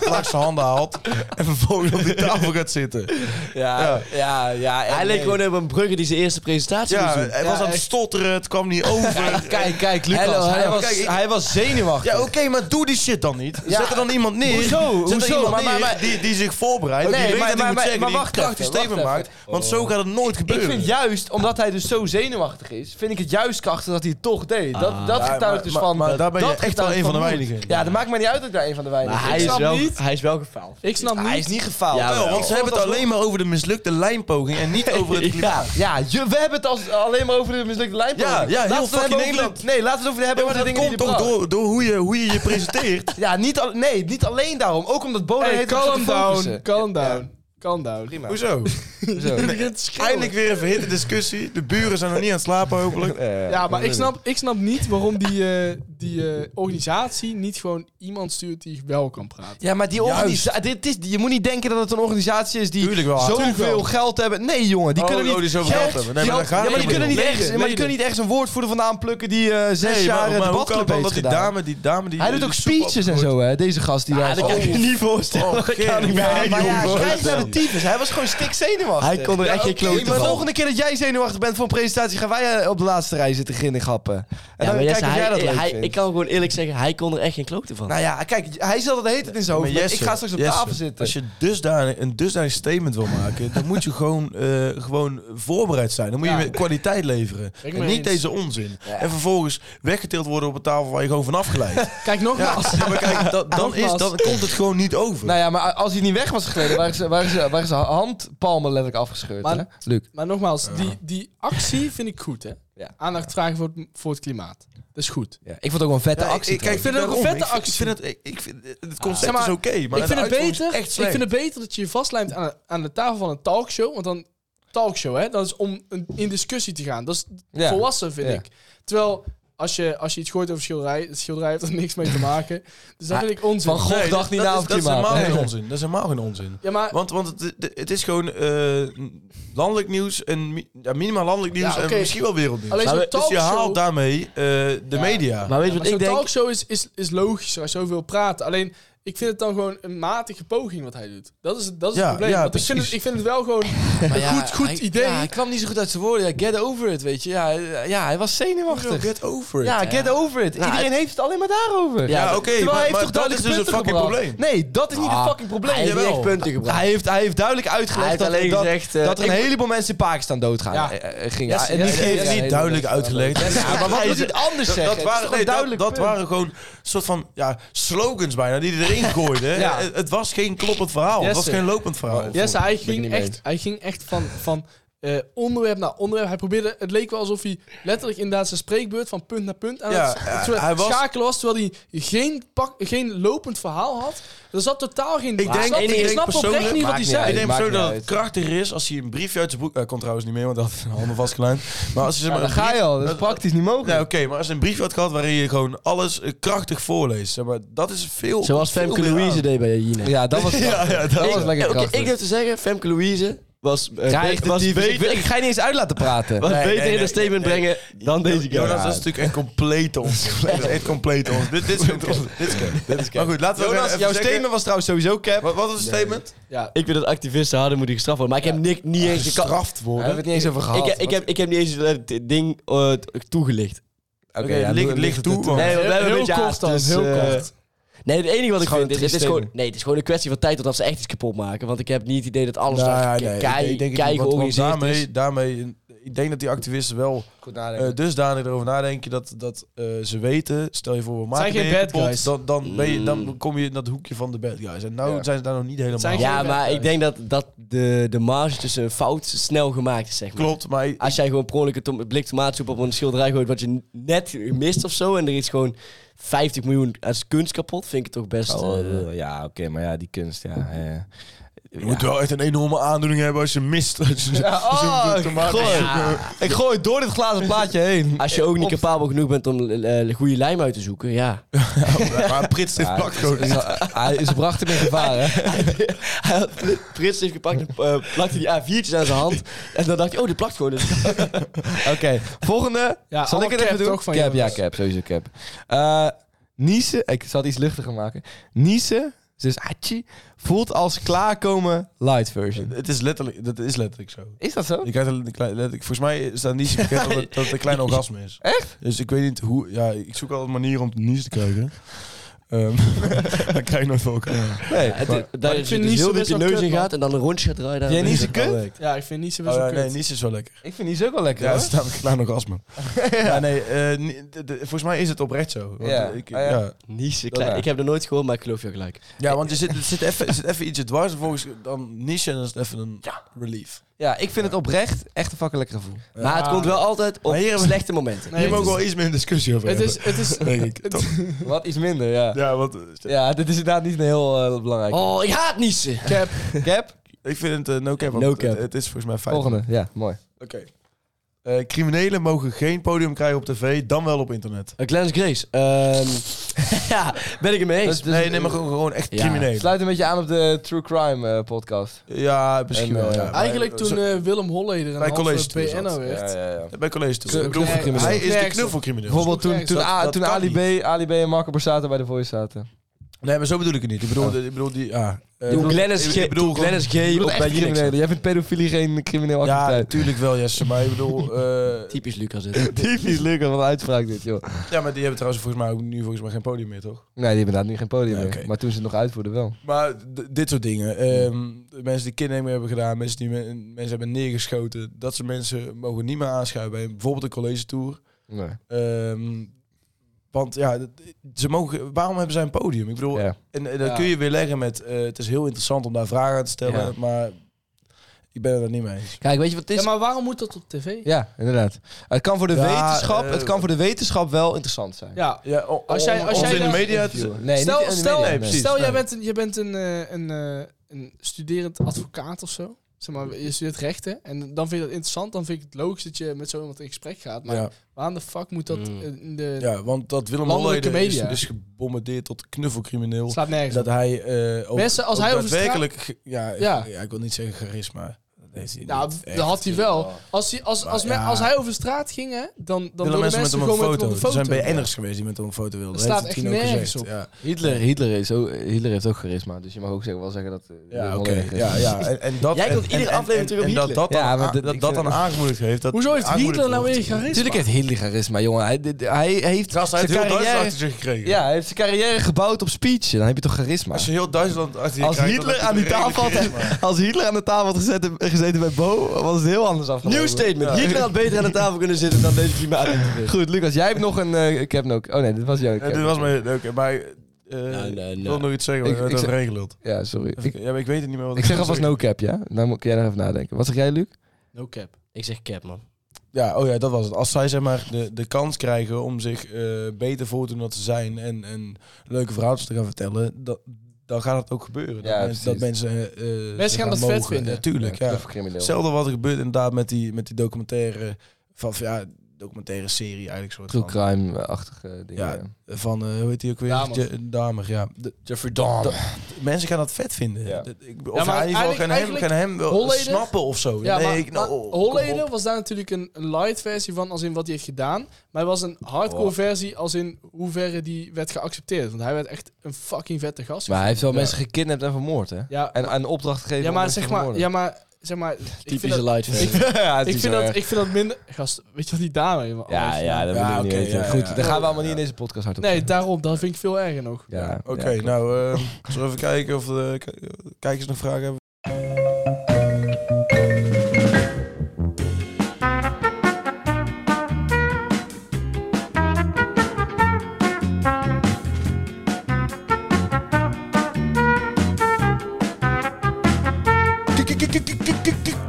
Speaker 3: langs zijn handen haalt en vervolgens op die tafel gaat zitten.
Speaker 2: Ja, ja, ja. en
Speaker 5: Hij leek
Speaker 2: nee.
Speaker 5: gewoon op een brugge die zijn eerste presentatie
Speaker 3: Ja,
Speaker 5: moest doen.
Speaker 3: hij was aan het stotteren, het kwam niet over.
Speaker 2: Kijk, kijk, Lucas.
Speaker 5: Hallo,
Speaker 2: hij,
Speaker 5: hallo.
Speaker 2: was,
Speaker 3: Kijk, ik-
Speaker 2: hij was zenuwachtig.
Speaker 3: Ja, oké, maar doe die shit dan niet. Zet er dan iemand neer.
Speaker 2: Hoezo?
Speaker 3: Zet er
Speaker 2: Hoezo?
Speaker 3: iemand
Speaker 2: Maar-
Speaker 3: neer
Speaker 2: maar- maar-
Speaker 3: die, die zich voorbereidt.
Speaker 2: Nee,
Speaker 3: die weet
Speaker 2: maar-
Speaker 3: dat hij
Speaker 2: maar-
Speaker 3: moet
Speaker 2: maar-
Speaker 3: zeggen,
Speaker 2: maar
Speaker 3: die een
Speaker 2: wacht even,
Speaker 3: krachtig
Speaker 2: wacht
Speaker 3: statement
Speaker 2: even.
Speaker 3: maakt. Want zo gaat het nooit
Speaker 2: Ik
Speaker 3: gebeuren.
Speaker 2: vind juist, omdat hij dus zo zenuwachtig is, vind ik het juist krachtig dat hij het toch deed.
Speaker 5: Ah.
Speaker 2: Dat, dat
Speaker 3: Ja,
Speaker 2: getuigt
Speaker 3: maar-
Speaker 2: dus
Speaker 3: maar-
Speaker 2: van...
Speaker 3: maar daar ben je
Speaker 2: dat
Speaker 3: echt wel
Speaker 2: getuigt
Speaker 3: een van de
Speaker 2: moed.
Speaker 3: weinigen.
Speaker 2: Ja, dat maakt mij niet uit dat ik daar een van de weinigen
Speaker 5: Maar
Speaker 2: ben.
Speaker 5: hij
Speaker 4: Ik
Speaker 5: is,
Speaker 4: snap
Speaker 5: wel,
Speaker 4: niet.
Speaker 5: hij is wel gefaald.
Speaker 4: Ik snap niet.
Speaker 2: Hij is niet gefaald.
Speaker 5: Ja, oh.
Speaker 3: Wel, want ze hebben het
Speaker 2: Alsnog-
Speaker 3: alleen maar over de mislukte lijnpoging en niet over het klimaat.
Speaker 5: Ja,
Speaker 2: Ja, je- we hebben het als, alleen maar over de mislukte lijn.
Speaker 3: Ja, ja, heel
Speaker 2: laten we het
Speaker 3: fucking
Speaker 2: hebben over
Speaker 3: Nederland.
Speaker 2: de- nee, laten we het over de hebben
Speaker 3: maar
Speaker 2: over de
Speaker 3: dat
Speaker 2: dingen die
Speaker 3: komt toch
Speaker 2: hij bracht.
Speaker 3: door, door hoe, je, hoe je je presenteert.
Speaker 2: Ja, niet al- nee, niet alleen daarom. Ook omdat Bono
Speaker 4: Hey,
Speaker 2: heeft om
Speaker 4: calm
Speaker 2: zich te
Speaker 4: down,
Speaker 2: focussen.
Speaker 4: calm down, calm down.
Speaker 2: Prima.
Speaker 3: Hoezo?
Speaker 2: Hoezo?
Speaker 3: Eindelijk weer een verhitte discussie. De buren zijn nog niet aan het slapen hopelijk.
Speaker 2: Eh,
Speaker 4: Ja, maar ik snap, ik snap niet waarom die, eh, die eh, organisatie niet gewoon iemand stuurt die wel kan praten.
Speaker 2: Ja, maar die organisatie. Dit is, je moet niet denken dat het een organisatie is die
Speaker 3: Tuurlijk wel.
Speaker 2: zoveel geld hebben. Nee, jongen, die
Speaker 3: Oh,
Speaker 2: kunnen niet.
Speaker 3: oh, die zoveel geld hebben. Nee, maar daar
Speaker 2: ja,
Speaker 3: gaat
Speaker 2: maar
Speaker 3: het
Speaker 2: die
Speaker 3: om,
Speaker 2: kunnen niet
Speaker 4: joh.
Speaker 2: echt.
Speaker 4: Leden,
Speaker 2: Maar die
Speaker 4: leden.
Speaker 2: kunnen niet echt een woordvoerder vandaan plukken die eh, zes
Speaker 3: Nee,
Speaker 2: jaar
Speaker 3: maar,
Speaker 2: de
Speaker 3: maar hoe kan
Speaker 2: badclub
Speaker 3: het dan dat
Speaker 2: heeft
Speaker 3: die
Speaker 2: gedaan.
Speaker 3: dame, die dame die
Speaker 2: Hij doet
Speaker 3: die Ah,
Speaker 2: ook
Speaker 3: soep
Speaker 2: speeches en
Speaker 3: opgooit.
Speaker 2: zo, hè? Deze gast die daar.
Speaker 5: dat kan ik me niet voorstellen.
Speaker 3: Oh, Gerrit.
Speaker 2: Ja, maar ja,
Speaker 3: jongen.
Speaker 2: kijk naar de tyfus. Hij was gewoon stik zenuwachtig.
Speaker 5: Hij kon er echt geen klote
Speaker 2: Maar de
Speaker 5: van.
Speaker 2: volgende keer dat jij zenuwachtig bent voor een presentatie, gaan wij eh, op de laatste rij zitten ginnengappen. En
Speaker 5: Ja,
Speaker 2: dan
Speaker 5: maar Jesse,
Speaker 2: kijken of jij dat
Speaker 5: hij,
Speaker 2: leuk
Speaker 5: hij,
Speaker 2: vindt.
Speaker 5: ik kan gewoon eerlijk zeggen, hij kon er echt geen klote van.
Speaker 2: Nou ja, kijk, hij zat het heet het in zijn hoofd.
Speaker 3: Maar Jesse,
Speaker 2: ik ga straks op
Speaker 3: Jesse,
Speaker 2: tafel zitten.
Speaker 3: Als je dusdanig, een dusdanig statement wil maken, dan moet je gewoon, eh, gewoon voorbereid zijn. Dan moet
Speaker 4: Ja.
Speaker 3: je met kwaliteit leveren.
Speaker 4: mee
Speaker 3: En niet
Speaker 4: eens.
Speaker 3: deze onzin. En vervolgens weggetild worden op een tafel waar je gewoon vanaf glijdt.
Speaker 4: Kijk nogmaals.
Speaker 3: Ja, maar kijk, dat- dan, is, dan komt het gewoon niet over.
Speaker 2: Nou ja, maar als hij niet weg was gegleden, waren ze, waren ze, waren ze handpalmen letterlijk afgescheurd.
Speaker 4: Maar-
Speaker 2: hè? Luc.
Speaker 4: Maar nogmaals, die, die actie vind ik goed, hè?
Speaker 2: Ja.
Speaker 4: Aandacht vragen voor het, voor het klimaat. Dat is goed.
Speaker 2: Ja, ik vond het ook wel een vette
Speaker 3: Ja,
Speaker 2: actie.
Speaker 3: kijk,
Speaker 4: Ik vind het ook een
Speaker 3: daarom,
Speaker 4: vette
Speaker 3: ik vind-
Speaker 4: actie.
Speaker 3: Ik vind het, ik vind, het concept
Speaker 4: Zeg maar,
Speaker 3: is oké, maar
Speaker 4: ik, vind het beter,
Speaker 3: echt
Speaker 4: ik
Speaker 3: slecht.
Speaker 4: vind het beter dat je je vastlijmt aan, aan de tafel van een talkshow. Want dan, talkshow, hè? Dat is om een, in discussie te gaan. Dat is
Speaker 2: Ja.
Speaker 4: volwassen, vind
Speaker 2: Ja.
Speaker 4: ik. Terwijl als je, als je iets gooit over schilderij, het schilderij heeft er niks mee te maken. Dus dat vind ik onzin.
Speaker 2: Van Gogh
Speaker 3: Nee,
Speaker 2: dacht Oh, niet
Speaker 3: dat
Speaker 2: na
Speaker 3: is-
Speaker 2: of
Speaker 3: Dat is
Speaker 2: klimaat.
Speaker 3: helemaal
Speaker 2: Nee.
Speaker 3: geen onzin. Dat is helemaal geen onzin.
Speaker 4: Ja, maar
Speaker 3: Want, want het, het is gewoon eh, landelijk nieuws en mi- ja, minimaal landelijk nieuws
Speaker 4: Ja, oké.
Speaker 3: en misschien wel wereldnieuws.
Speaker 4: alleen
Speaker 3: Maar
Speaker 4: zo'n
Speaker 3: we- dus je haalt
Speaker 4: talkshow...
Speaker 3: daarmee eh, de media.
Speaker 5: Maar weet je
Speaker 4: Maar
Speaker 5: wat ik
Speaker 4: zo'n
Speaker 5: denk?
Speaker 4: talkshow is, is, is logischer als je over wil praten. Alleen, ik vind het dan gewoon een matige poging wat hij doet. Dat is, het- dat is
Speaker 3: Ja,
Speaker 4: het probleem.
Speaker 3: ja,
Speaker 4: Want ik, vind het,
Speaker 3: precies.
Speaker 4: ik vind het wel gewoon een goed, goed
Speaker 2: hij,
Speaker 4: idee.
Speaker 2: Ja, hij kwam niet zo goed uit zijn woorden. Ja, get over it, weet je. Ja, eh, ja hij was zenuwachtig.
Speaker 3: get over it.
Speaker 2: ja, get over it.
Speaker 5: Nou,
Speaker 2: Iedereen heeft het alleen maar daarover.
Speaker 5: Ja,
Speaker 3: Ja, oké,
Speaker 2: Terwijl hij
Speaker 3: maar,
Speaker 2: heeft
Speaker 3: maar
Speaker 2: toch
Speaker 3: dat
Speaker 2: duidelijk
Speaker 3: is dus een
Speaker 2: punten
Speaker 3: fucking
Speaker 2: gebracht.
Speaker 3: probleem.
Speaker 2: Nee, dat is niet
Speaker 5: Ah,
Speaker 2: een fucking probleem.
Speaker 5: hij heeft niet
Speaker 2: Jawel.
Speaker 5: echt punten gebracht.
Speaker 2: Hij heeft, hij heeft duidelijk uitgelegd
Speaker 5: Hij heeft
Speaker 2: dat,
Speaker 5: alleen
Speaker 2: dat,
Speaker 5: gezegd, eh,
Speaker 2: dat er een
Speaker 5: ik-
Speaker 2: heleboel mensen in Pakistan doodgaan
Speaker 4: Ja.
Speaker 2: eh, eh, gingen.
Speaker 3: Ja,
Speaker 2: Ah, en
Speaker 3: ja,
Speaker 2: die
Speaker 3: ja,
Speaker 2: geeft-
Speaker 3: ja,
Speaker 2: ja,
Speaker 3: is niet
Speaker 2: ja,
Speaker 3: duidelijk
Speaker 2: ja,
Speaker 3: uitgelegd.
Speaker 2: ja, ja, maar wat
Speaker 3: Hij
Speaker 2: moet
Speaker 3: ze-
Speaker 2: je anders
Speaker 3: Dat,
Speaker 2: zeggen?
Speaker 3: dat,
Speaker 2: Het is
Speaker 3: waren,
Speaker 2: toch
Speaker 3: nee,
Speaker 2: een
Speaker 3: dat-
Speaker 2: duidelijk
Speaker 3: dat
Speaker 2: punt.
Speaker 3: waren gewoon soort van ja, slogans bijna die hij erin gooide.
Speaker 2: Ja.
Speaker 3: het, het was geen kloppend verhaal. het was
Speaker 4: Jesse.
Speaker 3: geen lopend verhaal.
Speaker 4: Jesse, hij
Speaker 2: ik
Speaker 4: ging,
Speaker 2: niet mee
Speaker 4: echt,
Speaker 2: eens.
Speaker 4: hij ging echt van, van eh, onderwerp naar onderwerp. Hij probeerde, het leek wel alsof hij letterlijk inderdaad zijn spreekbeurt van punt naar punt aan
Speaker 3: Ja,
Speaker 4: het,
Speaker 3: ja,
Speaker 4: het soort
Speaker 3: hij was-
Speaker 4: schakelen was. Terwijl hij geen, pak, geen lopend verhaal had. Er zat totaal geen...
Speaker 3: Ik denk-
Speaker 4: Ah, snap,
Speaker 3: ik denk
Speaker 4: snap oprecht
Speaker 3: persoonlijk-
Speaker 4: niet wat
Speaker 2: Maakt
Speaker 4: hij
Speaker 2: niet
Speaker 4: zei.
Speaker 2: uit.
Speaker 3: ik denk
Speaker 2: maakt
Speaker 3: zo
Speaker 2: niet
Speaker 3: dat
Speaker 2: uit.
Speaker 3: het krachtiger is als hij een briefje uit zijn boek... eh, kon trouwens niet meer, want dat had een handen vastgelijnd. Maar als hij zeg
Speaker 2: Ja,
Speaker 3: maar
Speaker 2: daar
Speaker 3: een
Speaker 2: ga je
Speaker 3: brief-
Speaker 2: al. Dat is
Speaker 3: dat-
Speaker 2: praktisch niet mogelijk.
Speaker 3: Nee, oké, maar als hij een briefje had gehad waarin je gewoon alles eh, krachtig voorleest. Zeg maar, dat is veel...
Speaker 5: Zoals
Speaker 3: veel
Speaker 5: Femke
Speaker 3: meer
Speaker 5: Louise
Speaker 3: aan.
Speaker 5: deed bij Jine.
Speaker 2: Ja, dat was,
Speaker 3: Ja, ja, dat
Speaker 2: dat
Speaker 3: was
Speaker 2: was lekker
Speaker 5: Oké,
Speaker 2: krachtig.
Speaker 5: ik durf te zeggen, Femke Louise was, eh,
Speaker 2: Krijg
Speaker 5: be-
Speaker 2: de
Speaker 5: was
Speaker 2: tyfus. ik,
Speaker 5: beter,
Speaker 2: wil- ik ga je niet eens uit laten praten.
Speaker 5: was beter
Speaker 3: nee,
Speaker 5: in
Speaker 3: nee,
Speaker 5: een statement
Speaker 3: nee,
Speaker 5: brengen dan deze guy.
Speaker 3: Jonas, dat is natuurlijk een complete onzin. Dat is echt compleet onzin. Dit, dit is geen onzin. Dit is geen- Maar goed, laten we
Speaker 2: Jonas,
Speaker 3: even
Speaker 2: jouw
Speaker 3: zeggen-
Speaker 2: statement was trouwens sowieso cap.
Speaker 3: Wat, wat is het statement?
Speaker 4: Ja,
Speaker 5: Ik vind dat activisten harder moeten gestraft worden. Maar ik heb niks, niet eens... geka-
Speaker 3: Gestraft worden.
Speaker 2: het niet eens over
Speaker 5: Ik, heb- ik, heb, ik heb niet eens het ding eh, t- toegelicht.
Speaker 3: Oké, ligt- ligt toe, want-
Speaker 5: Nee, want we hebben een
Speaker 4: heel
Speaker 5: beetje
Speaker 4: kort
Speaker 5: haast,
Speaker 4: dan,
Speaker 5: dus,
Speaker 4: heel
Speaker 5: eh,
Speaker 4: kort.
Speaker 5: Nee, het enige wat ik
Speaker 2: Het is
Speaker 5: vind is, het is
Speaker 2: gewoon een
Speaker 5: gewoon, nee, het is gewoon een kwestie van tijd totdat ze echt iets kapot maken. Want ik heb niet het idee dat alles
Speaker 3: Nou,
Speaker 5: daar
Speaker 3: ja,
Speaker 5: ke-
Speaker 3: nee,
Speaker 5: kei-
Speaker 3: ik denk- ik denk
Speaker 5: kei
Speaker 3: het niet, want- want
Speaker 5: georganiseerd is.
Speaker 3: daarmee, daarmee, ik denk dat die activisten wel
Speaker 2: Goed
Speaker 3: eh dusdanig erover nadenken dat, dat eh, ze weten, stel je voor, we maken
Speaker 4: zijn geen
Speaker 3: dingen
Speaker 4: bad
Speaker 3: kapot,
Speaker 4: guys.
Speaker 3: dan, dan, ben je, dan kom je in dat hoekje van de bad guys. En nou
Speaker 2: Ja.
Speaker 3: zijn ze daar nog niet helemaal.
Speaker 4: zijn
Speaker 5: Mm. Ja,
Speaker 4: geen
Speaker 5: maar
Speaker 4: wedstrijd.
Speaker 5: ik denk dat, dat de, de marge tussen een fout snel gemaakt is, zeg maar.
Speaker 3: Klopt, maar ik-
Speaker 5: Als jij gewoon per ongeluk een tom- blik tomaatsoep op een schilderij gooit wat je n- net mist of zo... en er is gewoon 50 miljoen als kunst kapot, vind ik het toch best...
Speaker 2: Oh,
Speaker 5: eh,
Speaker 2: ja, oké, maar ja, die kunst, ja.
Speaker 3: je moet wel echt een enorme aandoening hebben als je mist. Als je, als je een
Speaker 4: Oh,
Speaker 3: tomaat-
Speaker 2: oh, Ik gooi door dit glazen plaatje heen.
Speaker 5: als je ook niet capabel genoeg bent om eh, eh, goede lijm uit te zoeken, ja.
Speaker 3: Maar Prits dit plakt gewoon niet.
Speaker 2: Ze brachten hem in gevaar, hè?
Speaker 5: Hij had Frits heeft gepakt en eh, plakte die A4'tjes aan zijn hand. En dan dacht hij, oh, dit plakt gewoon. Dus
Speaker 2: Oké, volgende.
Speaker 4: Ja,
Speaker 2: Zal ik het
Speaker 4: allemaal
Speaker 2: even
Speaker 4: cap
Speaker 2: doen?
Speaker 4: toch van
Speaker 2: cap, ja,
Speaker 4: Jonas?
Speaker 2: cap, sowieso cap. Eh Nice, ik zal het iets luchtiger maken. Nice, dus Hachi, voelt als klaarkomen light version.
Speaker 3: Het is letterlijk, dat is letterlijk zo.
Speaker 2: Is dat zo?
Speaker 3: Je krijgt een klein, letterlijk- volgens mij is dat niet bekend dat, het- dat het een klein orgasme is. Echt? Dus ik weet niet hoe. Ja, ik zoek altijd manieren om niets te krijgen. Ehm dat krijg je nooit voor elkaar.
Speaker 2: Nee.
Speaker 5: Het,
Speaker 3: Maar-
Speaker 5: daar
Speaker 4: maar ik
Speaker 5: is
Speaker 4: vind
Speaker 5: het
Speaker 4: niet
Speaker 5: heel
Speaker 4: zo
Speaker 5: diep
Speaker 4: best
Speaker 5: je
Speaker 4: wel
Speaker 5: neus
Speaker 4: kut,
Speaker 5: in gaat en dan een rondje gaat draaien.
Speaker 2: Jij
Speaker 5: dan-
Speaker 2: niet zo kut?
Speaker 4: Ja, ik vind niet zo
Speaker 3: Oh,
Speaker 4: best wel
Speaker 3: ja, nee,
Speaker 4: kut.
Speaker 3: niets is wel lekker.
Speaker 2: Ik vind Nice ook wel lekker,
Speaker 3: Ja,
Speaker 2: hoor.
Speaker 3: het is namelijk een klein orgasme. ja, nee, eh, ni- de- de- volgens mij is het oprecht zo. Want
Speaker 2: Ja.
Speaker 3: Ik,
Speaker 2: Ah, ja.
Speaker 3: ja.
Speaker 5: Niet zo klein.
Speaker 3: Ja.
Speaker 5: Ik heb er nooit gehoord, maar ik geloof je gelijk.
Speaker 3: ja, want er zit, er zit even er zit even ietsje dwars en volgens dan niche en dan is het even een relief.
Speaker 2: Ja, ik vind het oprecht echt een fucking lekker gevoel.
Speaker 5: Maar het komt wel altijd op
Speaker 3: Maar hier hebben we-
Speaker 5: slechte momenten.
Speaker 3: Hier
Speaker 4: Nee,
Speaker 3: hebben we ook
Speaker 4: het
Speaker 3: wel iets meer een discussie over
Speaker 4: Het
Speaker 3: hebben,
Speaker 4: is... Het is
Speaker 3: denk ik. toch?
Speaker 2: Wat iets minder, ja.
Speaker 3: Ja, want eh,
Speaker 2: Ja, dit is inderdaad niet een heel eh, belangrijk.
Speaker 5: Oh, ik haat Nice.
Speaker 2: Cap, cap.
Speaker 3: ik vind het eh, no cap. want
Speaker 5: No
Speaker 3: het-
Speaker 5: cap.
Speaker 3: Het, is volgens mij fijn.
Speaker 2: Volgende, ja, mooi.
Speaker 3: Oké. Eh, criminelen mogen geen podium krijgen op tv, dan wel op internet.
Speaker 5: Eh, Clarence Grace. Ehm, ja, ben ik het mee eens.
Speaker 2: Dus- dus-
Speaker 3: nee, nee, maar gewoon, gewoon echt
Speaker 5: Ja.
Speaker 3: criminelen.
Speaker 2: Sluit een beetje aan op de True Crime eh, podcast.
Speaker 3: Ja, misschien
Speaker 2: En,
Speaker 3: wel.
Speaker 2: eh,
Speaker 3: ja.
Speaker 4: Eigenlijk
Speaker 3: Maar,
Speaker 4: toen
Speaker 3: zo-
Speaker 4: eh, Willem Holleder
Speaker 3: Bij
Speaker 4: een halve
Speaker 3: college toen
Speaker 4: BN'er
Speaker 3: zat.
Speaker 4: werd...
Speaker 2: ja.
Speaker 3: bij college toen.
Speaker 2: Knu-
Speaker 3: Ik bedoel,
Speaker 4: knuffelcrimineel.
Speaker 3: Hij is de
Speaker 4: Nergens op.
Speaker 3: knuffelcrimineel.
Speaker 2: Bijvoorbeeld toen, toen,
Speaker 4: Dat-
Speaker 2: A-
Speaker 3: dat
Speaker 2: toen
Speaker 3: kan
Speaker 2: Ali, B, Ali B en Marco Borsato bij de Voice zaten.
Speaker 3: Nee, maar zo bedoel ik het niet. Ik bedoel, ik bedoel die... Ja, eh,
Speaker 5: Toen Glennis
Speaker 3: ik-
Speaker 5: G,
Speaker 3: ik bedoel
Speaker 5: toen Glennis G
Speaker 2: Je
Speaker 5: op bij Unix.
Speaker 2: criminelen. Jij vindt pedofilie geen crimineel
Speaker 3: gewoon- Ja,
Speaker 2: activiteit.
Speaker 3: natuurlijk wel, Jesse. Maar ik bedoel... eh,
Speaker 5: Typisch Lucas dit.
Speaker 2: Typisch Lucas, wat een uitspraak dit, joh.
Speaker 3: ja, maar die hebben trouwens volgens mij ook nu volgens mij geen podium meer, toch?
Speaker 2: Nee, die hebben daar nu geen podium
Speaker 3: Nee,
Speaker 2: meer.
Speaker 3: oké.
Speaker 2: Maar toen ze het nog uitvoerden wel.
Speaker 3: Maar d- dit soort dingen. ehm, de mensen die kinderen hebben gedaan, mensen die me- mensen hebben neergeschoten. Dat soort mensen mogen niet meer aanschuiven bij bijvoorbeeld een college tour.
Speaker 2: Nee.
Speaker 3: Ehm, want ja, dat- ze mogen, waarom hebben zij een podium? Ik bedoel,
Speaker 2: Ja.
Speaker 3: en, en dat
Speaker 4: Ja.
Speaker 3: kun je weer leggen met... eh, het is heel interessant om daar vragen aan te stellen,
Speaker 2: Ja.
Speaker 3: maar ik ben het er niet mee eens.
Speaker 2: Kijk, weet je wat het
Speaker 4: Ja,
Speaker 2: is?
Speaker 4: maar waarom moet dat op tv?
Speaker 2: Ja, inderdaad. Het kan voor de
Speaker 3: Ja,
Speaker 2: wetenschap,
Speaker 3: eh,
Speaker 2: het kan voor de wetenschap wel interessant zijn.
Speaker 4: Ja.
Speaker 3: Ja, o-
Speaker 4: Als jij-
Speaker 3: om-
Speaker 4: als
Speaker 3: om
Speaker 4: jij
Speaker 3: in de
Speaker 4: daar-
Speaker 3: media... te-
Speaker 2: Nee,
Speaker 4: stel,
Speaker 2: niet in de
Speaker 4: stel,
Speaker 2: media, nee.
Speaker 4: stel jij
Speaker 3: nee.
Speaker 4: bent een, je bent een, eh, een, eh, een studerend advocaat of zo. Zeg maar, je studeert rechten en dan vind je dat interessant. Dan vind ik het logisch dat je met zo iemand in gesprek gaat. Maar
Speaker 3: Ja.
Speaker 4: waarom de fuck moet dat
Speaker 5: Mm.
Speaker 4: in de...
Speaker 3: Ja, want dat Willem
Speaker 4: Landelijke
Speaker 3: Holleder is,
Speaker 4: media.
Speaker 3: is gebombardeerd tot knuffelcrimineel.
Speaker 4: Slaat nergens
Speaker 3: Dat
Speaker 4: op.
Speaker 3: hij eh ook,
Speaker 4: Mensen, als
Speaker 3: ook
Speaker 4: hij over de straat-
Speaker 3: daadwerkelijk... ge- ja,
Speaker 4: Ja.
Speaker 3: ja. ik wil niet zeggen charisma. Dat heeft hij
Speaker 4: Nou,
Speaker 3: niet
Speaker 4: dat
Speaker 3: echt.
Speaker 4: had hij wel. Als hij, als,
Speaker 3: Maar
Speaker 4: als, men-
Speaker 3: ja.
Speaker 4: als hij over de straat ging, hè, dan, dan
Speaker 3: willen
Speaker 4: wilden
Speaker 3: mensen met hem op een foto.
Speaker 4: op
Speaker 3: Er zijn BN'ers geweest die met hem op een foto wilden.
Speaker 4: Dat
Speaker 3: Dat
Speaker 4: slaat
Speaker 3: heeft hij
Speaker 4: echt
Speaker 3: toen ook
Speaker 4: nergens
Speaker 3: gezegd. Ja,
Speaker 2: Hitler, Hitler, is ook, Hitler heeft ook charisma, dus je mag ook zeggen, wel zeggen dat... eh,
Speaker 3: ja
Speaker 2: Willem
Speaker 3: oké.
Speaker 2: Holleder-
Speaker 3: Ja, ja. En, en dat,
Speaker 5: Jij
Speaker 3: en-
Speaker 5: komt
Speaker 3: en-
Speaker 5: iedere
Speaker 3: en-
Speaker 5: aflevering terug op
Speaker 3: en dat
Speaker 5: Hitler.
Speaker 3: dat dan,
Speaker 2: Ja, maar
Speaker 3: a-
Speaker 2: dit-
Speaker 3: dat,
Speaker 2: ik
Speaker 3: dat
Speaker 2: vind-
Speaker 3: dan aangemoedigd heeft. Dat
Speaker 4: Hoezo heeft
Speaker 3: aangemoedigd
Speaker 4: Hitler nou
Speaker 3: wordt.
Speaker 4: weer charisma?
Speaker 2: Tuurlijk heeft Hitler charisma, jongen. Hij, dit- hij heeft
Speaker 3: Gast, hij heeft heel
Speaker 2: zijn
Speaker 3: Duitsland
Speaker 2: carrière...
Speaker 3: achter zich gekregen.
Speaker 2: Ja, hij heeft zijn carrière gebouwd op speech. Dan heb je toch charisma.
Speaker 3: Als je heel Duitsland achter je
Speaker 2: Als
Speaker 3: krijgt,
Speaker 2: Hitler
Speaker 3: dan heb
Speaker 2: aan
Speaker 3: je
Speaker 2: die tafel had,
Speaker 3: redelijk charisma.
Speaker 2: als Hitler aan de tafel had gezeten, gezeten bij Bo, was het heel anders afgelopen.
Speaker 3: eh,
Speaker 5: Nieuw statement. Hitler had beter aan de tafel kunnen zitten dan deze klimaatintervent.
Speaker 2: Goed, Lucas, jij hebt nog een eh, Ik heb nog. Oh nee, dit was jouw
Speaker 3: Ja,
Speaker 2: cap
Speaker 3: dit
Speaker 2: note.
Speaker 3: was mijn... Oké, maar... eh,
Speaker 5: Nou, nou,
Speaker 3: Ik wil
Speaker 5: nou.
Speaker 3: nog iets zeggen,
Speaker 2: Ik-
Speaker 3: maar we hebben
Speaker 2: ik
Speaker 3: het overheen geluld.
Speaker 2: Ja, sorry. Ik,
Speaker 3: Ja, maar ik weet het niet meer wat
Speaker 2: ik zeg
Speaker 3: wil
Speaker 2: alvast
Speaker 3: zeggen.
Speaker 2: no cap, ja? Dan moet jij nog even nadenken. Wat zeg jij, Luc?
Speaker 4: No cap.
Speaker 5: Ik zeg cap, man.
Speaker 3: Ja, oh ja, dat was het. Als zij zeg maar de, de kans krijgen om zich eh, beter voor te doen dan ze zijn en, en leuke verhaaltjes te gaan vertellen, dat, dan gaat het ook gebeuren.
Speaker 2: Ja,
Speaker 3: dat, mensen, dat
Speaker 2: precies.
Speaker 3: mensen. eh, eh,
Speaker 4: Mensen gaan dat vet vinden.
Speaker 3: Natuurlijk, ja.
Speaker 2: Dat is crimineel.
Speaker 3: Hetzelfde wat er gebeurt inderdaad met die, met die documentaire, van, ja, documentaire serie eigenlijk. Soort
Speaker 2: True
Speaker 3: van,
Speaker 2: crime-achtige dingen.
Speaker 3: Ja.
Speaker 2: ja.
Speaker 3: van eh, hoe heet die ook weer?
Speaker 4: Dahmer.
Speaker 3: Ja, Dahmer, ja. De-
Speaker 5: Jeffrey
Speaker 3: dat- mensen gaan dat vet vinden.
Speaker 2: Ja.
Speaker 3: Dat- ik-
Speaker 4: Ja,
Speaker 3: Of
Speaker 4: maar
Speaker 3: in ieder geval
Speaker 4: eigenlijk-
Speaker 3: gaan hem,
Speaker 4: eigenlijk
Speaker 3: gaan hem wel
Speaker 4: Holleder-
Speaker 3: snappen of zo.
Speaker 4: Ja,
Speaker 3: nee,
Speaker 4: maar,
Speaker 3: ik, nou,
Speaker 4: maar
Speaker 3: oh, kom
Speaker 4: Holleder
Speaker 3: op.
Speaker 4: was daar natuurlijk een een light versie van, als in wat hij heeft gedaan. Maar het was een hardcore
Speaker 3: Oh.
Speaker 4: versie, als in hoeverre die werd geaccepteerd. Want hij werd echt een fucking vette gast.
Speaker 2: Maar hij heeft wel
Speaker 3: Ja.
Speaker 2: mensen gekidnapt en vermoord, hè?
Speaker 4: ja,
Speaker 2: En, en opdracht gegeven
Speaker 4: ja,
Speaker 2: om
Speaker 4: maar
Speaker 2: mensen
Speaker 4: zeg
Speaker 2: te
Speaker 4: maar,
Speaker 2: vermoorden.
Speaker 4: ja, maar, zeg maar... ik vind
Speaker 5: Typische
Speaker 4: dat,
Speaker 5: light versie.
Speaker 2: Ja, het
Speaker 4: ik
Speaker 2: is
Speaker 4: vind
Speaker 2: zo
Speaker 4: dat,
Speaker 2: erg.
Speaker 4: ik vind dat minder... Gast, weet je wat die dame helemaal
Speaker 2: Ja,
Speaker 4: alles
Speaker 2: ja,
Speaker 4: vindt?
Speaker 2: dat
Speaker 3: Ja,
Speaker 2: wil ik
Speaker 3: oké,
Speaker 2: niet weten.
Speaker 3: ja,
Speaker 2: Goed,
Speaker 3: ja,
Speaker 2: daar
Speaker 3: ja.
Speaker 2: gaan we allemaal niet in deze podcast hard op.
Speaker 4: Nee,
Speaker 2: in.
Speaker 4: daarom. Dat vind ik veel erger nog.
Speaker 2: Ja, ja,
Speaker 3: Oké,
Speaker 2: klopt.
Speaker 3: nou, eh, zullen we even kijken of de k- kijkers nog vragen hebben?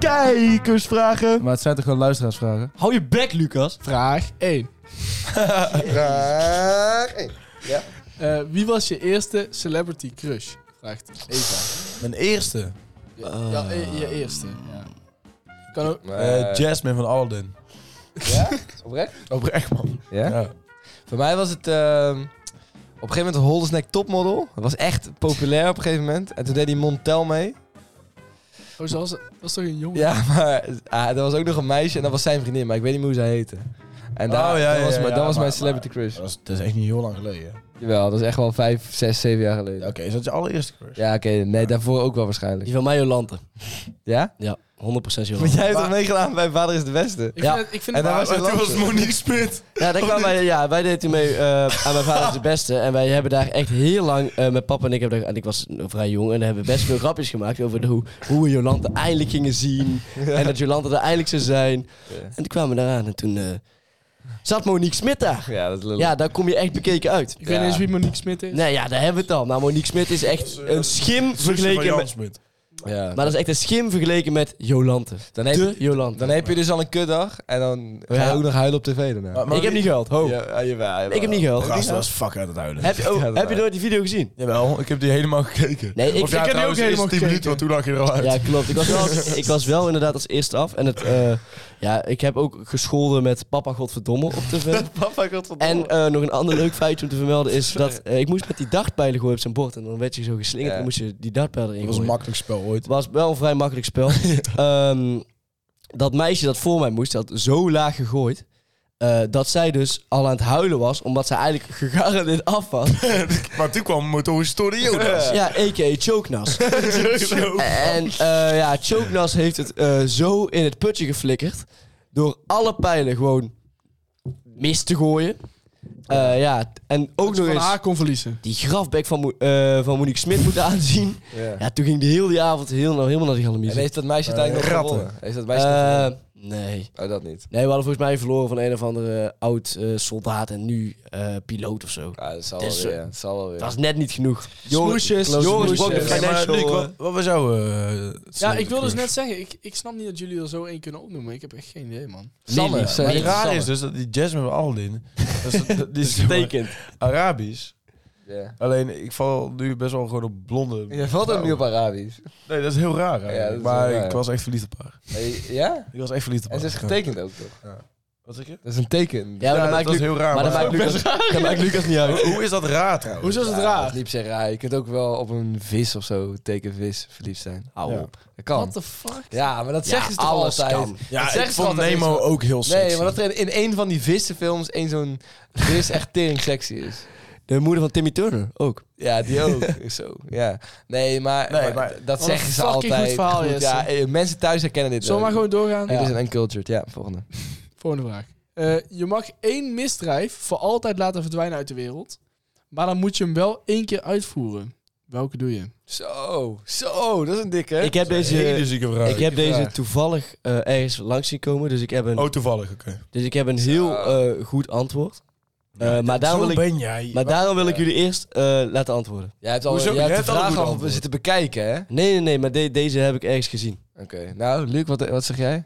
Speaker 2: Kijkersvragen.
Speaker 3: Maar het zijn toch gewoon luisteraarsvragen?
Speaker 5: Hou je bek, Lucas.
Speaker 4: Vraag 1. Eh, wie was je eerste celebrity crush? Vraagt Eva.
Speaker 3: Mijn eerste.
Speaker 4: Ja,
Speaker 2: Ah.
Speaker 4: ja, e- je eerste. Ja. Kan ook.
Speaker 3: Eh, Jasmine van Alden.
Speaker 2: Oprecht?
Speaker 3: Oprecht, man.
Speaker 2: Ja?
Speaker 3: Ja.
Speaker 2: Voor mij was het ehm, op een gegeven moment een Holdersnack topmodel. Dat was echt populair op een gegeven moment. En toen deed die Montel mee.
Speaker 4: Oh, zoals, dat was toch een jongen?
Speaker 2: Ja, maar ah, er was ook nog een meisje en dat was zijn vriendin, maar ik weet niet meer hoe zij heette. En daar,
Speaker 3: Oh, ja,
Speaker 2: dat
Speaker 3: ja,
Speaker 2: was,
Speaker 3: ja,
Speaker 2: mijn-
Speaker 3: ja,
Speaker 2: dat was
Speaker 3: maar-
Speaker 2: mijn celebrity crush.
Speaker 3: Dat, is, dat is echt niet heel lang geleden. hè?
Speaker 2: Jawel, dat is echt wel vijf, zes, zeven jaar geleden.
Speaker 3: Ja, Oké, is dat je allereerste crush?
Speaker 2: Ja, oké. nee, daarvoor ook wel waarschijnlijk.
Speaker 5: Die van mij, Jolante.
Speaker 2: Ja?
Speaker 5: Ja, 100%
Speaker 2: Want
Speaker 5: Jolante.
Speaker 2: jij hebt al meegedaan bij Vader is de Beste.
Speaker 4: Ik,
Speaker 5: Ja.
Speaker 4: Vind het, ik vind
Speaker 2: En
Speaker 4: het
Speaker 2: daar
Speaker 4: wel-
Speaker 2: was je
Speaker 3: Toen was
Speaker 2: lastig.
Speaker 3: Monique Spit.
Speaker 5: Ja, daar kwamen wij, ja, wij deden toen mee eh, aan mijn vader is de beste. En wij hebben daar echt heel lang eh, met papa en ik, hebben daar, en ik was nog vrij jong, en daar hebben we best veel grapjes gemaakt over de, hoe, hoe we Jolante eindelijk gingen zien. En dat Jolante er eindelijk zou zijn. En toen kwamen we daar aan en toen eh, zat Monique Smit daar.
Speaker 2: Ja, dat is lullig.
Speaker 5: Ja, daar kom je echt bekeken uit.
Speaker 4: ik weet niet eens wie Monique Smit is.
Speaker 5: Nee, ja, daar hebben we het al. Maar Monique Smit is echt een schim
Speaker 3: Zusje van
Speaker 5: vergeleken
Speaker 3: Jan
Speaker 5: met...
Speaker 3: Smit.
Speaker 2: Ja.
Speaker 5: Maar dat is echt een schim vergeleken met Jolante.
Speaker 2: dan,
Speaker 5: De
Speaker 2: heb,
Speaker 5: Jolante.
Speaker 2: dan heb je dus al een kutdag en dan ga je
Speaker 5: Oh, Ja. Oh.
Speaker 2: ook nog huilen op tv daarna. Oh.
Speaker 3: Maar- maar
Speaker 5: ik heb
Speaker 3: wie-
Speaker 5: niet gehuild, ho.
Speaker 2: Ja, ja, jawel, jawel.
Speaker 5: Ik heb niet gehuild.
Speaker 3: Gast, dat was fuck uit het huilen.
Speaker 5: Oh, Heb je, oh,
Speaker 2: Ja, dat
Speaker 5: heb je
Speaker 2: wel.
Speaker 5: nooit die video gezien?
Speaker 3: Jawel, ik heb die helemaal gekeken.
Speaker 5: Nee, ik-
Speaker 3: Of ja,
Speaker 4: ik heb die ook
Speaker 3: trouwens,
Speaker 4: helemaal
Speaker 3: eerst 10
Speaker 4: gekeken.
Speaker 3: minuten, want toen lag je er al uit.
Speaker 5: Ja, klopt. Ik was wel, ik was wel inderdaad als eerste af. En het, eh, ja, ik heb ook gescholden met papa godverdomme op tv.
Speaker 2: Papa, godverdomme.
Speaker 5: en eh, nog een ander leuk feitje om te vermelden is dat eh, ik moest met die dartpijlen gooien op zijn bord. En dan werd je zo geslingerd
Speaker 2: Ja.
Speaker 5: en moest je die dartpijlen erin
Speaker 3: Dat was een
Speaker 5: gooien.
Speaker 3: makkelijk spel ooit.
Speaker 5: Het was wel een vrij makkelijk spel. Ehm, dat meisje dat voor mij moest, had zo laag gegooid. eh, dat zij dus al aan het huilen was, omdat zij eigenlijk gegarandeerd af was.
Speaker 3: Maar toen kwam motorisch door de Jonas.
Speaker 5: Ja, a.k.a. Chokenas. En eh, ja, Chokenas heeft het eh, zo in het putje geflikkerd. Door alle pijlen gewoon mis te gooien. Eh, ja, en ook
Speaker 4: Dat ze
Speaker 5: nog
Speaker 4: van
Speaker 5: eens
Speaker 4: haar kon verliezen.
Speaker 5: die grafbek van, Mo- eh, van Monique Smit moeten aanzien.
Speaker 2: Ja.
Speaker 5: Ja, toen ging die heel die avond heel, helemaal naar de galamie.
Speaker 2: En heeft dat meisje uiteindelijk nog
Speaker 3: ratten.
Speaker 2: gewonnen? Heeft dat
Speaker 5: Eh,
Speaker 2: meisje nog gewonnen?
Speaker 5: nee.
Speaker 2: Oh, dat niet.
Speaker 5: Nee, we hadden volgens mij verloren van een of andere eh, oud eh, soldaat en nu eh, piloot of zo.
Speaker 2: Ja, Ah, dat zal
Speaker 5: Dus,
Speaker 2: wel
Speaker 5: eh,
Speaker 2: weer. Dat zal wel weer.
Speaker 5: Dat was net niet genoeg.
Speaker 4: Smoesjes,
Speaker 5: Joris
Speaker 4: smoesjes.
Speaker 5: Brok, de
Speaker 4: Ja, maar
Speaker 5: financial, eh,
Speaker 3: wat, wat was jouw... eh,
Speaker 4: Ja, ik wil
Speaker 3: celebrity
Speaker 4: dus net
Speaker 3: crush?
Speaker 4: zeggen, ik, ik snap niet dat jullie er zo één kunnen opnoemen. Ik heb echt geen idee, man.
Speaker 2: Sanne.
Speaker 5: Lily.
Speaker 2: Ze
Speaker 3: Maar
Speaker 2: heet
Speaker 3: het raar
Speaker 2: Sanne.
Speaker 3: is dus dat die Jasmine van Aldin... dat is- dat- Die is
Speaker 5: Betekent.
Speaker 3: Arabisch.
Speaker 2: Ja.
Speaker 3: Alleen, ik val nu best wel gewoon op blonde.
Speaker 2: Je valt ook niet op Arabisch.
Speaker 3: Nee, dat is heel raar.
Speaker 2: Ja, dat
Speaker 3: eigenlijk.
Speaker 2: is
Speaker 3: maar
Speaker 2: heel raar.
Speaker 3: ik was echt verliefd op haar.
Speaker 2: Nee, Ja?
Speaker 3: Ik was echt verliefd op
Speaker 2: En
Speaker 3: haar.
Speaker 2: ze is getekend ook, toch?
Speaker 3: Wat zeg je?
Speaker 2: Dat is een teken.
Speaker 5: Ja, maar
Speaker 3: Ja,
Speaker 5: dat maakt
Speaker 3: dat is
Speaker 5: Lu-
Speaker 3: heel raar.
Speaker 5: maar dat maakt Lucas- dat maakt Lucas niet uit.
Speaker 3: Hoe- Hoe is dat raar trouwens?
Speaker 4: Hoezo is het
Speaker 2: Ja,
Speaker 4: raar?
Speaker 2: dat is niet per se raar. Je kunt ook wel op een vis of zo, teken vis, verliefd zijn. Hou
Speaker 3: Ja.
Speaker 2: op. Dat kan.
Speaker 4: What the fuck?
Speaker 2: Ja, maar dat zeggen ze toch
Speaker 5: alles
Speaker 2: altijd.
Speaker 5: kan.
Speaker 3: Ja,
Speaker 2: dat
Speaker 3: ik
Speaker 2: zeggen ze
Speaker 3: vond
Speaker 2: altijd
Speaker 3: Nemo
Speaker 2: eens-
Speaker 3: ook heel sexy.
Speaker 2: Nee, maar dat er in een van die vissenfilms één zo'n vis echt tering sexy is.
Speaker 5: De moeder van Timmy Turner ook.
Speaker 2: Ja, die ook. zo, ja. Nee, maar,
Speaker 3: Nee,
Speaker 2: maar
Speaker 3: maar-
Speaker 2: dat
Speaker 4: Wat een
Speaker 2: zeggen ze
Speaker 4: fucking
Speaker 2: altijd.
Speaker 4: goed verhaal, Jesse.
Speaker 2: ja, eh, mensen thuis herkennen dit
Speaker 4: Zullen we maar
Speaker 2: wel.
Speaker 4: gewoon doorgaan?
Speaker 2: Dit is een uncultured. Ja, volgende.
Speaker 4: Volgende vraag. Eh, je mag één misdrijf voor altijd laten verdwijnen uit de wereld. Maar dan moet je hem wel één keer uitvoeren. Welke doe je?
Speaker 2: Zo, zo, dat is een dikke.
Speaker 5: Ik heb
Speaker 3: Hele
Speaker 5: deze,
Speaker 3: zieke vraag.
Speaker 5: ik heb
Speaker 2: Oh, vraag.
Speaker 5: deze toevallig eh, ergens langs zien komen. Dus ik heb een,
Speaker 3: Oh, toevallig, oké.
Speaker 5: dus ik heb een heel eh, goed antwoord. Eh, maar daarom wil, ik,
Speaker 3: ben jij.
Speaker 5: maar daarom wil ik jullie eerst eh, laten antwoorden.
Speaker 2: Jij hebt al,
Speaker 3: Hoezo?
Speaker 2: jij
Speaker 3: Jij
Speaker 2: hebt
Speaker 3: hebt
Speaker 2: de
Speaker 3: al een
Speaker 2: vraag
Speaker 3: goed
Speaker 2: al
Speaker 3: antwoord.
Speaker 2: zitten bekijken, hè? Oké,
Speaker 5: Nee, nee, nee. Maar de- deze heb ik ergens gezien.
Speaker 2: nou, Luc, wat, wat zeg jij?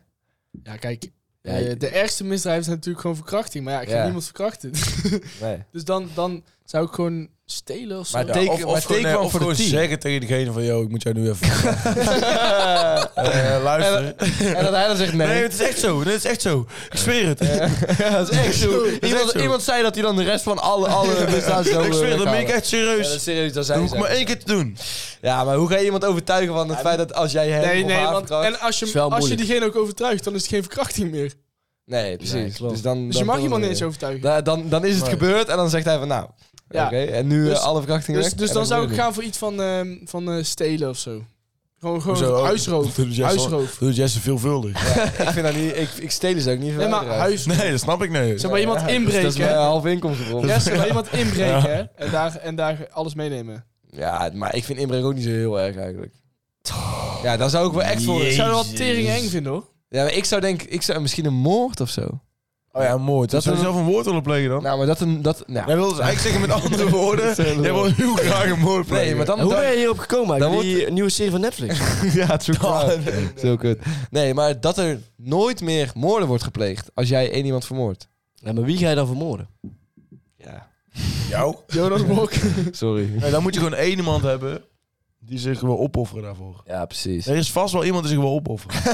Speaker 4: Ja, kijk.
Speaker 2: Ja,
Speaker 4: eh,
Speaker 2: je-
Speaker 4: de ergste misdrijven zijn natuurlijk gewoon verkrachting. Maar ja, ik ga
Speaker 2: Ja.
Speaker 4: niemand verkrachten.
Speaker 2: Nee.
Speaker 4: dus dan, dan zou ik gewoon stelen of zo.
Speaker 2: Maar
Speaker 4: Ja.
Speaker 2: teken-
Speaker 3: of
Speaker 2: maar
Speaker 3: of gewoon,
Speaker 2: teken
Speaker 3: eh,
Speaker 2: wel
Speaker 3: of
Speaker 2: voor de
Speaker 3: gewoon
Speaker 2: team.
Speaker 3: zeggen tegen degene van, yo, ik moet jou nu even... Eh, luister.
Speaker 2: En dat hij dan zegt nee.
Speaker 3: Nee, het is echt zo. Nee, het is echt zo. Ik zweer het.
Speaker 2: Ja, dat is echt zo. Iemand,
Speaker 3: zo.
Speaker 2: iemand zei dat hij dan de rest van alle, alle bestaan zo...
Speaker 3: ik zweer,
Speaker 2: eh,
Speaker 3: dat ben ik echt
Speaker 4: dus-
Speaker 2: Ja, dat
Speaker 3: serieus.
Speaker 2: is serieus, dat
Speaker 3: Dat
Speaker 2: zijn
Speaker 3: hoef ik maar één keer te doen.
Speaker 2: Ja, maar hoe ga je iemand overtuigen van het feit dat als jij hem
Speaker 4: Nee,
Speaker 2: of
Speaker 4: nee,
Speaker 2: haar
Speaker 4: want,
Speaker 2: verkracht-
Speaker 4: en als je,
Speaker 2: is
Speaker 4: hem-
Speaker 2: wel
Speaker 4: als je
Speaker 2: moeilijk.
Speaker 4: diegene ook overtuigt, dan is het geen verkrachting meer.
Speaker 2: Nee, precies.
Speaker 5: Nee, klopt.
Speaker 2: dus dan,
Speaker 4: Dus
Speaker 2: dan
Speaker 4: je mag iemand niet
Speaker 2: dan-
Speaker 4: eens overtuigen.
Speaker 2: Da- dan, dan is het
Speaker 3: Nee.
Speaker 2: gebeurd en dan zegt hij van nou,
Speaker 4: Ja.
Speaker 2: oké, en nu eh,
Speaker 4: Dus-
Speaker 2: alle verkrachtingen
Speaker 4: dus
Speaker 2: weg.
Speaker 4: dus
Speaker 2: En
Speaker 4: dan zou ik
Speaker 2: gebeurt
Speaker 4: gaan voor iets van, ehm, van eh, stelen of zo. Gewoon, gewoon
Speaker 3: Hoezo?
Speaker 4: huisroof.
Speaker 3: Dat doet Jesse-
Speaker 4: Huisroof.
Speaker 3: Dat doet Jesse veelvuldig.
Speaker 2: het. Ik vind dat niet, ik, ik stelen ze ook niet van
Speaker 4: Nee, maar
Speaker 2: anderen.
Speaker 4: huis.
Speaker 3: Nee, dat snap ik niet.
Speaker 4: Zeg maar iemand
Speaker 2: Dus dat is
Speaker 4: inbreken. Dus
Speaker 2: mijn half inkomstenbron.
Speaker 4: Ja, ze bij iemand inbreken hè? En, daar, en daar alles meenemen.
Speaker 2: Ja, maar ik vind inbreken ook niet zo heel erg eigenlijk. Ja, daar zou ik wel echt voor...
Speaker 4: Ik zou er wel
Speaker 3: Jezus.
Speaker 4: tering eng vinden hoor.
Speaker 2: Ja, maar ik zou denk, ik zou misschien een moord of zo.
Speaker 3: Oh ja, mooi.
Speaker 2: Dat
Speaker 3: Dat zou je
Speaker 2: een-
Speaker 3: zelf een woord willen plegen dan?
Speaker 2: Nou, maar dat een... Dat, nou,
Speaker 3: Jij wil dus eigenlijk zeggen met andere woorden, jij wil heel graag een moord plegen.
Speaker 2: nee, maar dan...
Speaker 5: En hoe
Speaker 2: dan-
Speaker 5: ben je hierop gekomen?
Speaker 2: dan
Speaker 5: Dan die nieuwe serie van Netflix.
Speaker 2: ja, true crime. Zo kut. Nee, maar dat er nooit meer moorden wordt gepleegd als jij één iemand vermoordt.
Speaker 5: Ja, maar wie ga je dan vermoorden?
Speaker 2: Ja.
Speaker 3: Jou?
Speaker 4: Jonas Blok.
Speaker 2: Sorry.
Speaker 3: Nee, dan moet je gewoon één iemand hebben die zich wil opofferen daarvoor.
Speaker 2: Ja, precies.
Speaker 3: Er is vast wel iemand die zich wil opofferen.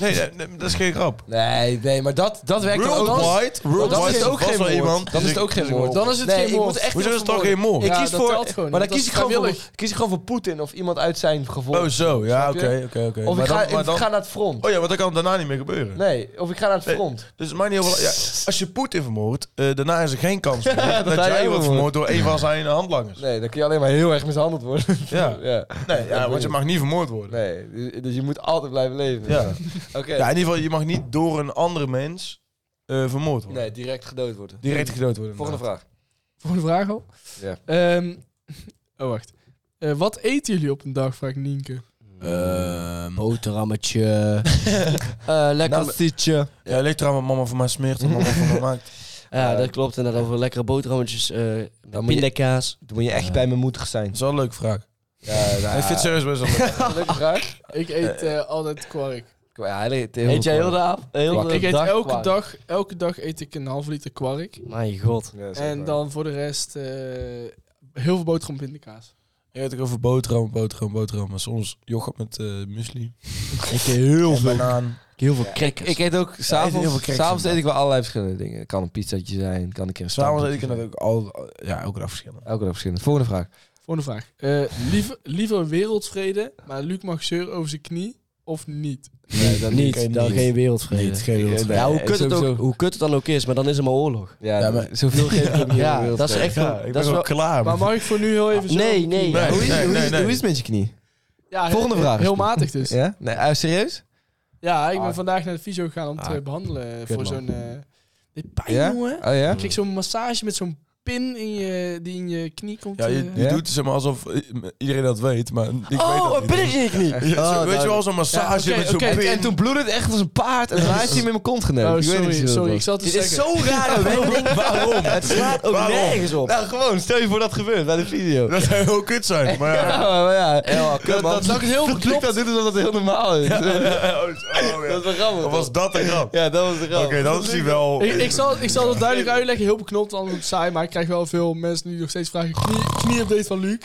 Speaker 3: nee, nee, nee, dat is geen grap.
Speaker 2: Nee, nee, maar dat, dat werkt dan ook niet.
Speaker 3: Worldwide,
Speaker 2: Maar dan
Speaker 3: worldwide
Speaker 2: is het ook
Speaker 3: vast
Speaker 2: geen
Speaker 3: wel
Speaker 2: moord.
Speaker 3: iemand.
Speaker 2: Dan
Speaker 3: die
Speaker 2: is het
Speaker 3: zich-
Speaker 2: ook geen
Speaker 3: die zich
Speaker 2: moord.
Speaker 3: wil
Speaker 4: Dan is het
Speaker 2: Nee,
Speaker 4: geen
Speaker 2: ik
Speaker 4: moord.
Speaker 2: moet echt
Speaker 3: Hoezo is
Speaker 2: iemand
Speaker 3: het dan geen
Speaker 2: vermoorden.
Speaker 3: moord?
Speaker 2: Ik
Speaker 4: Ja,
Speaker 2: kies
Speaker 4: dat
Speaker 2: voor,
Speaker 4: telt gewoon
Speaker 2: maar
Speaker 4: niet,
Speaker 2: dan kies
Speaker 4: dat
Speaker 2: ik
Speaker 4: is
Speaker 2: gewoon voor,
Speaker 4: vrijwillig.
Speaker 2: kies ik gewoon voor Poetin of iemand uit zijn gevolg.
Speaker 3: Oh, zo. Ja,
Speaker 2: Snap
Speaker 3: oké,
Speaker 2: je?
Speaker 3: oké, oké.
Speaker 2: of ik
Speaker 3: Maar
Speaker 2: ga,
Speaker 3: dan-
Speaker 2: ik
Speaker 3: maar dan-
Speaker 2: ga naar het front.
Speaker 3: Oh ja, want dat kan daarna niet meer gebeuren.
Speaker 2: Nee, of ik ga naar het
Speaker 3: Nee.
Speaker 2: front.
Speaker 3: Dus het maakt niet heel veel- ja, Als je Poetin vermoordt, eh, daarna is er geen kans meer dat,
Speaker 2: hij ook
Speaker 3: jij
Speaker 2: wordt.
Speaker 3: wordt vermoord door een van zijn handlangers.
Speaker 2: Nee, dan kun je alleen maar heel erg mishandeld worden.
Speaker 3: Ja.
Speaker 2: ja.
Speaker 3: Nee, ja, want je mag niet vermoord worden.
Speaker 2: Nee, dus- dus je moet altijd blijven leven.
Speaker 3: Ja.
Speaker 2: Oké.
Speaker 3: Ja, in ieder geval, je mag niet door een andere mens eh, vermoord worden.
Speaker 2: Nee, direct gedood worden.
Speaker 3: Direct gedood worden.
Speaker 5: Nou.
Speaker 2: Volgende vraag.
Speaker 4: Volgende vraag al.
Speaker 2: Ja.
Speaker 4: Ehm, oh, wacht. Eh, wat eten jullie op een dag, vraagt Nienke.
Speaker 2: Eh,
Speaker 5: Boterhammetje. Eh, lekker.
Speaker 2: Nastietje.
Speaker 3: Ja, het ligt eraan wat mama voor mij smeert en mama voor mij maakt.
Speaker 5: ja,
Speaker 2: Eh,
Speaker 5: dat klopt. En dan over lekkere boterhammetjes. eh
Speaker 2: Dan moet je-
Speaker 5: pindakaas.
Speaker 2: Dan moet je echt bij me moedig zijn.
Speaker 3: Dat is wel een leuke vraag.
Speaker 2: Ja, nou,
Speaker 3: Ik vind het serieus best wel leuk.
Speaker 2: leuke vraag.
Speaker 4: Ik eet eh, altijd kwark.
Speaker 2: Ja, hij eet heel
Speaker 5: Eet jij
Speaker 2: veel
Speaker 5: heel de aap? Heel de
Speaker 4: Ik eet
Speaker 5: dag
Speaker 4: elke
Speaker 5: kwark?
Speaker 4: dag, elke dag eet ik een half liter kwark.
Speaker 5: Mijn god.
Speaker 2: Ja, dat is
Speaker 4: En
Speaker 2: waar.
Speaker 4: dan voor de rest eh, heel veel boterham pindakaas.
Speaker 3: Je hebt het over boterham, boterham, boterham. Maar soms yoghurt met eh muesli.
Speaker 5: Ik eet heel
Speaker 3: En banaan.
Speaker 5: Heel veel
Speaker 2: Ik,
Speaker 5: crackers.
Speaker 2: ik eet ook
Speaker 3: heel veel
Speaker 2: s'avonds.
Speaker 3: cracks
Speaker 2: S'avonds
Speaker 3: inderdaad.
Speaker 2: eet ik wel allerlei verschillende dingen. Het kan een pizzaatje zijn, kan een keer een
Speaker 3: S'avonds Dus eet
Speaker 2: standaardje
Speaker 3: ik dat
Speaker 2: zijn.
Speaker 3: ook al, ja, elke dag verschillend.
Speaker 2: Elke dag verschillende. Volgende vraag.
Speaker 4: Volgende vraag. Eh, liever, liever wereldvrede, maar Luc mag zeuren over zijn knie of niet?
Speaker 5: Nee, dan
Speaker 3: Ik eet
Speaker 5: niet. Dan
Speaker 3: niet.
Speaker 5: geen wereldvrede.
Speaker 3: Niet, geen wereldvrede.
Speaker 5: Ja, hoe
Speaker 2: Nee,
Speaker 5: kut, het ook,
Speaker 2: sowieso.
Speaker 5: hoe kut het dan ook is, maar dan is er maar oorlog.
Speaker 2: Ja,
Speaker 3: Ja,
Speaker 2: dat-
Speaker 3: maar-
Speaker 2: zoveel geef ik ook niet aan de
Speaker 5: Ja,
Speaker 2: wereld.
Speaker 5: dat is echt
Speaker 3: Ja,
Speaker 5: wel...
Speaker 3: ik
Speaker 5: dat
Speaker 3: ben
Speaker 5: is
Speaker 3: wel
Speaker 5: wel
Speaker 3: klaar.
Speaker 4: Maar
Speaker 3: met-
Speaker 4: mag ik voor nu heel even zeuren
Speaker 5: nee,
Speaker 4: over mijn knie?
Speaker 5: nee.
Speaker 3: Ah, Nee.
Speaker 2: Hoe is, hoe, is,
Speaker 3: nee.
Speaker 2: hoe is het met je knie?
Speaker 4: Ja, he-
Speaker 2: Volgende
Speaker 4: he-
Speaker 2: vraag.
Speaker 4: Heel matig dus.
Speaker 2: Ja? Nee, eh, serieus?
Speaker 4: Ja, ik ben
Speaker 2: Ah.
Speaker 4: vandaag naar de fysio gegaan om te
Speaker 3: Ah,
Speaker 4: behandelen
Speaker 3: kut,
Speaker 4: voor
Speaker 3: man.
Speaker 4: zo'n... eh dit pijn,
Speaker 2: Ja?
Speaker 4: jongen.
Speaker 2: Oh ja?
Speaker 4: Ik kreeg zo'n massage met zo'n pin in je, die in je knie komt.
Speaker 3: Ja, je,
Speaker 4: eh.
Speaker 3: je
Speaker 2: Ja?
Speaker 3: doet zeg maar alsof eh, iedereen dat weet, maar ik weet
Speaker 5: Oh,
Speaker 3: dat
Speaker 5: een
Speaker 3: niet.
Speaker 5: pilletje in je knie.
Speaker 3: Ja, zo- weet je wel, zo'n
Speaker 4: Ja,
Speaker 3: massage
Speaker 4: oké,
Speaker 3: met zo'n
Speaker 4: oké.
Speaker 3: pin.
Speaker 2: En, en toen bloedde het echt als een paard en daarna is hij hem in mijn kont genomen.
Speaker 4: Oh,
Speaker 2: ik weet
Speaker 4: sorry,
Speaker 2: niet precies wat
Speaker 4: sorry.
Speaker 2: het was.
Speaker 4: Ik zal het
Speaker 5: Dit
Speaker 4: dus
Speaker 5: is
Speaker 4: zeggen.
Speaker 5: zo raar een wending.
Speaker 3: Waarom?
Speaker 5: Het slaat ook
Speaker 3: Waarom?
Speaker 5: nergens op.
Speaker 2: Nou, gewoon, stel je voor dat gebeurt bij de video.
Speaker 3: Dat zou heel kut zijn, maar ja.
Speaker 2: Ja, maar ja. dat,
Speaker 3: man.
Speaker 2: dat, dat ik het heel beklopt dat dit is omdat het heel normaal is.
Speaker 3: Oh, oh, ja.
Speaker 2: Dat is een grap.
Speaker 3: Of was dat een grap?
Speaker 2: Ja, dat was de grap.
Speaker 3: Oké, dan is die wel...
Speaker 4: Ik, ik, zal, ik zal het duidelijk uitleggen, heel beknopt, anders wordt het saai. Maar ik krijg wel veel mensen nu nog steeds vragen. Knie, knie-update van Luc.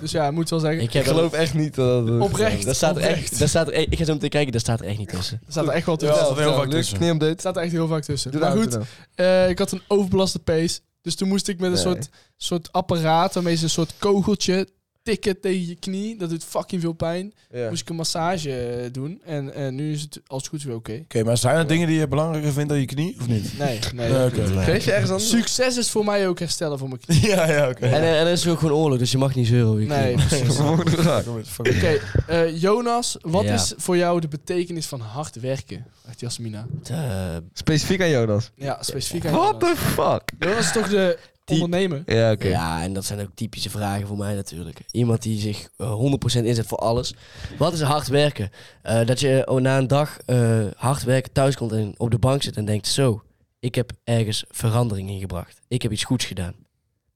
Speaker 4: Dus ja, moet wel zeggen.
Speaker 5: Ik
Speaker 4: Ik
Speaker 5: heb
Speaker 2: Ik geloof echt niet dat dat...
Speaker 4: Oprecht.
Speaker 5: Daar staat er echt,
Speaker 4: oprecht.
Speaker 5: daar staat er, ik ga zo meteen kijken, daar staat er echt niet tussen.
Speaker 4: staat er echt wel
Speaker 3: Ja,
Speaker 4: tussen.
Speaker 3: dat is heel vaak
Speaker 2: Luc,
Speaker 3: tussen.
Speaker 2: knieupdate.
Speaker 4: staat er echt heel vaak tussen.
Speaker 2: Doe
Speaker 4: maar
Speaker 2: dat
Speaker 4: goed,
Speaker 2: dan.
Speaker 4: eh, ik had een overbelaste pace. Dus toen moest ik met een
Speaker 2: Nee.
Speaker 4: soort, soort apparaat, waarmee ze een soort kogeltje tikken tegen je knie. Dat doet fucking veel pijn.
Speaker 2: Ja.
Speaker 4: Moest ik een massage eh, doen. En eh, nu is het als het goed is weer oké.
Speaker 3: Oké, maar zijn er dingen die je belangrijker vindt dan je knie, of niet?
Speaker 4: Nee, nee.
Speaker 3: Nee, oké.
Speaker 2: Geef je ergens anders?
Speaker 4: Succes is voor mij ook herstellen voor mijn knie.
Speaker 3: Ja, ja, oké.
Speaker 5: En, eh, en er is ook gewoon oorlog, dus je mag niet zeuren. over je
Speaker 4: Nee,
Speaker 5: knie.
Speaker 4: precies. Oké,
Speaker 3: Oké.
Speaker 4: eh, Jonas, wat
Speaker 5: Ja.
Speaker 4: is voor jou de betekenis van hard werken? Echt Jasmina.
Speaker 5: Eh,
Speaker 2: Specifiek aan Jonas.
Speaker 4: Ja, specifiek aan
Speaker 2: What
Speaker 4: Jonas.
Speaker 2: the fuck?
Speaker 4: Jonas is toch de
Speaker 2: Die-
Speaker 4: ondernemer?
Speaker 2: Ja, oké.
Speaker 5: Ja, en dat zijn ook typische vragen voor mij natuurlijk. Iemand die zich eh, 100% inzet voor alles. Wat is hard werken? Eh, dat je eh, na een dag eh, hard werken thuis komt en op de bank zit en denkt... Zo, ik heb ergens verandering in gebracht. Ik heb iets goeds gedaan.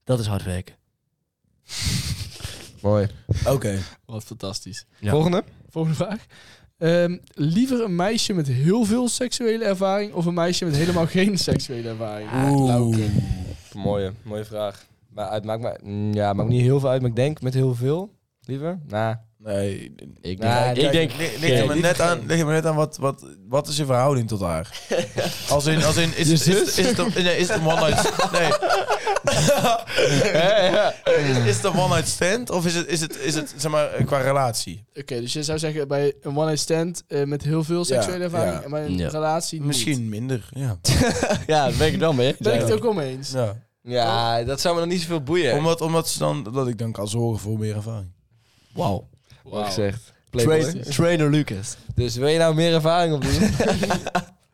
Speaker 5: Dat is hard werken.
Speaker 2: Mooi.
Speaker 4: Wat fantastisch.
Speaker 5: Ja.
Speaker 2: Volgende?
Speaker 4: Volgende vraag. Ehm, liever een meisje met heel veel seksuele ervaring of een meisje met helemaal geen seksuele ervaring?
Speaker 2: Ah. Mooie, mooie vraag. Maar het maakt me, mm, ja, maakt me niet heel veel uit, maar ik denk met heel veel. Liever? Nou,
Speaker 3: Nee,
Speaker 5: Ik
Speaker 2: Nou,
Speaker 5: denk... ik
Speaker 2: kijk,
Speaker 5: denk
Speaker 3: lig, lig er maar net aan, lig er maar net aan wat, wat, wat is je verhouding tot haar? Als in, als in is, is, is, is, het een- nee, is het een one-night nee. is, is het een one-night stand of is het, is het, is het zeg maar, eh, qua relatie?
Speaker 4: Oké, dus je zou zeggen bij een one-night stand eh, met heel veel seksuele
Speaker 3: Ja,
Speaker 4: ervaring
Speaker 3: ja.
Speaker 4: en bij een
Speaker 5: Ja.
Speaker 4: relatie niet.
Speaker 3: Misschien minder, ja.
Speaker 5: ja, daar ben ik het dan mee.
Speaker 4: Ben ik het ook om eens.
Speaker 3: ja.
Speaker 2: ja, dat zou me nog niet zoveel boeien.
Speaker 3: Omdat, omdat ze dan, dat ik dan kan zorgen voor meer ervaring.
Speaker 5: Wauw.
Speaker 2: Mooi gezegd.
Speaker 5: Train-
Speaker 2: Playboy.
Speaker 5: Trainer Lucas.
Speaker 2: Dus wil je nou meer ervaring opdoen?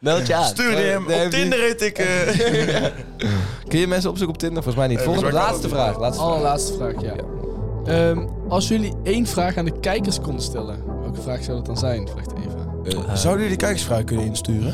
Speaker 5: Meld je aan.
Speaker 3: Stuur die hem,
Speaker 2: Nee,
Speaker 3: op
Speaker 2: die-
Speaker 3: Tinder heet ik... eh,
Speaker 2: Kun je mensen opzoeken op Tinder? Volgens mij niet.
Speaker 3: Eh,
Speaker 2: Volgende,
Speaker 3: volgens
Speaker 2: laatste
Speaker 3: mij kan Oh, dat
Speaker 2: vraag. Laatste vraag.
Speaker 4: Allerlaatste vraag, ja. Ehm, als jullie één vraag aan de kijkers konden stellen, welke vraag zou dat dan zijn? Vraagt Eva.
Speaker 3: Zouden jullie de kijkersvraag kunnen insturen?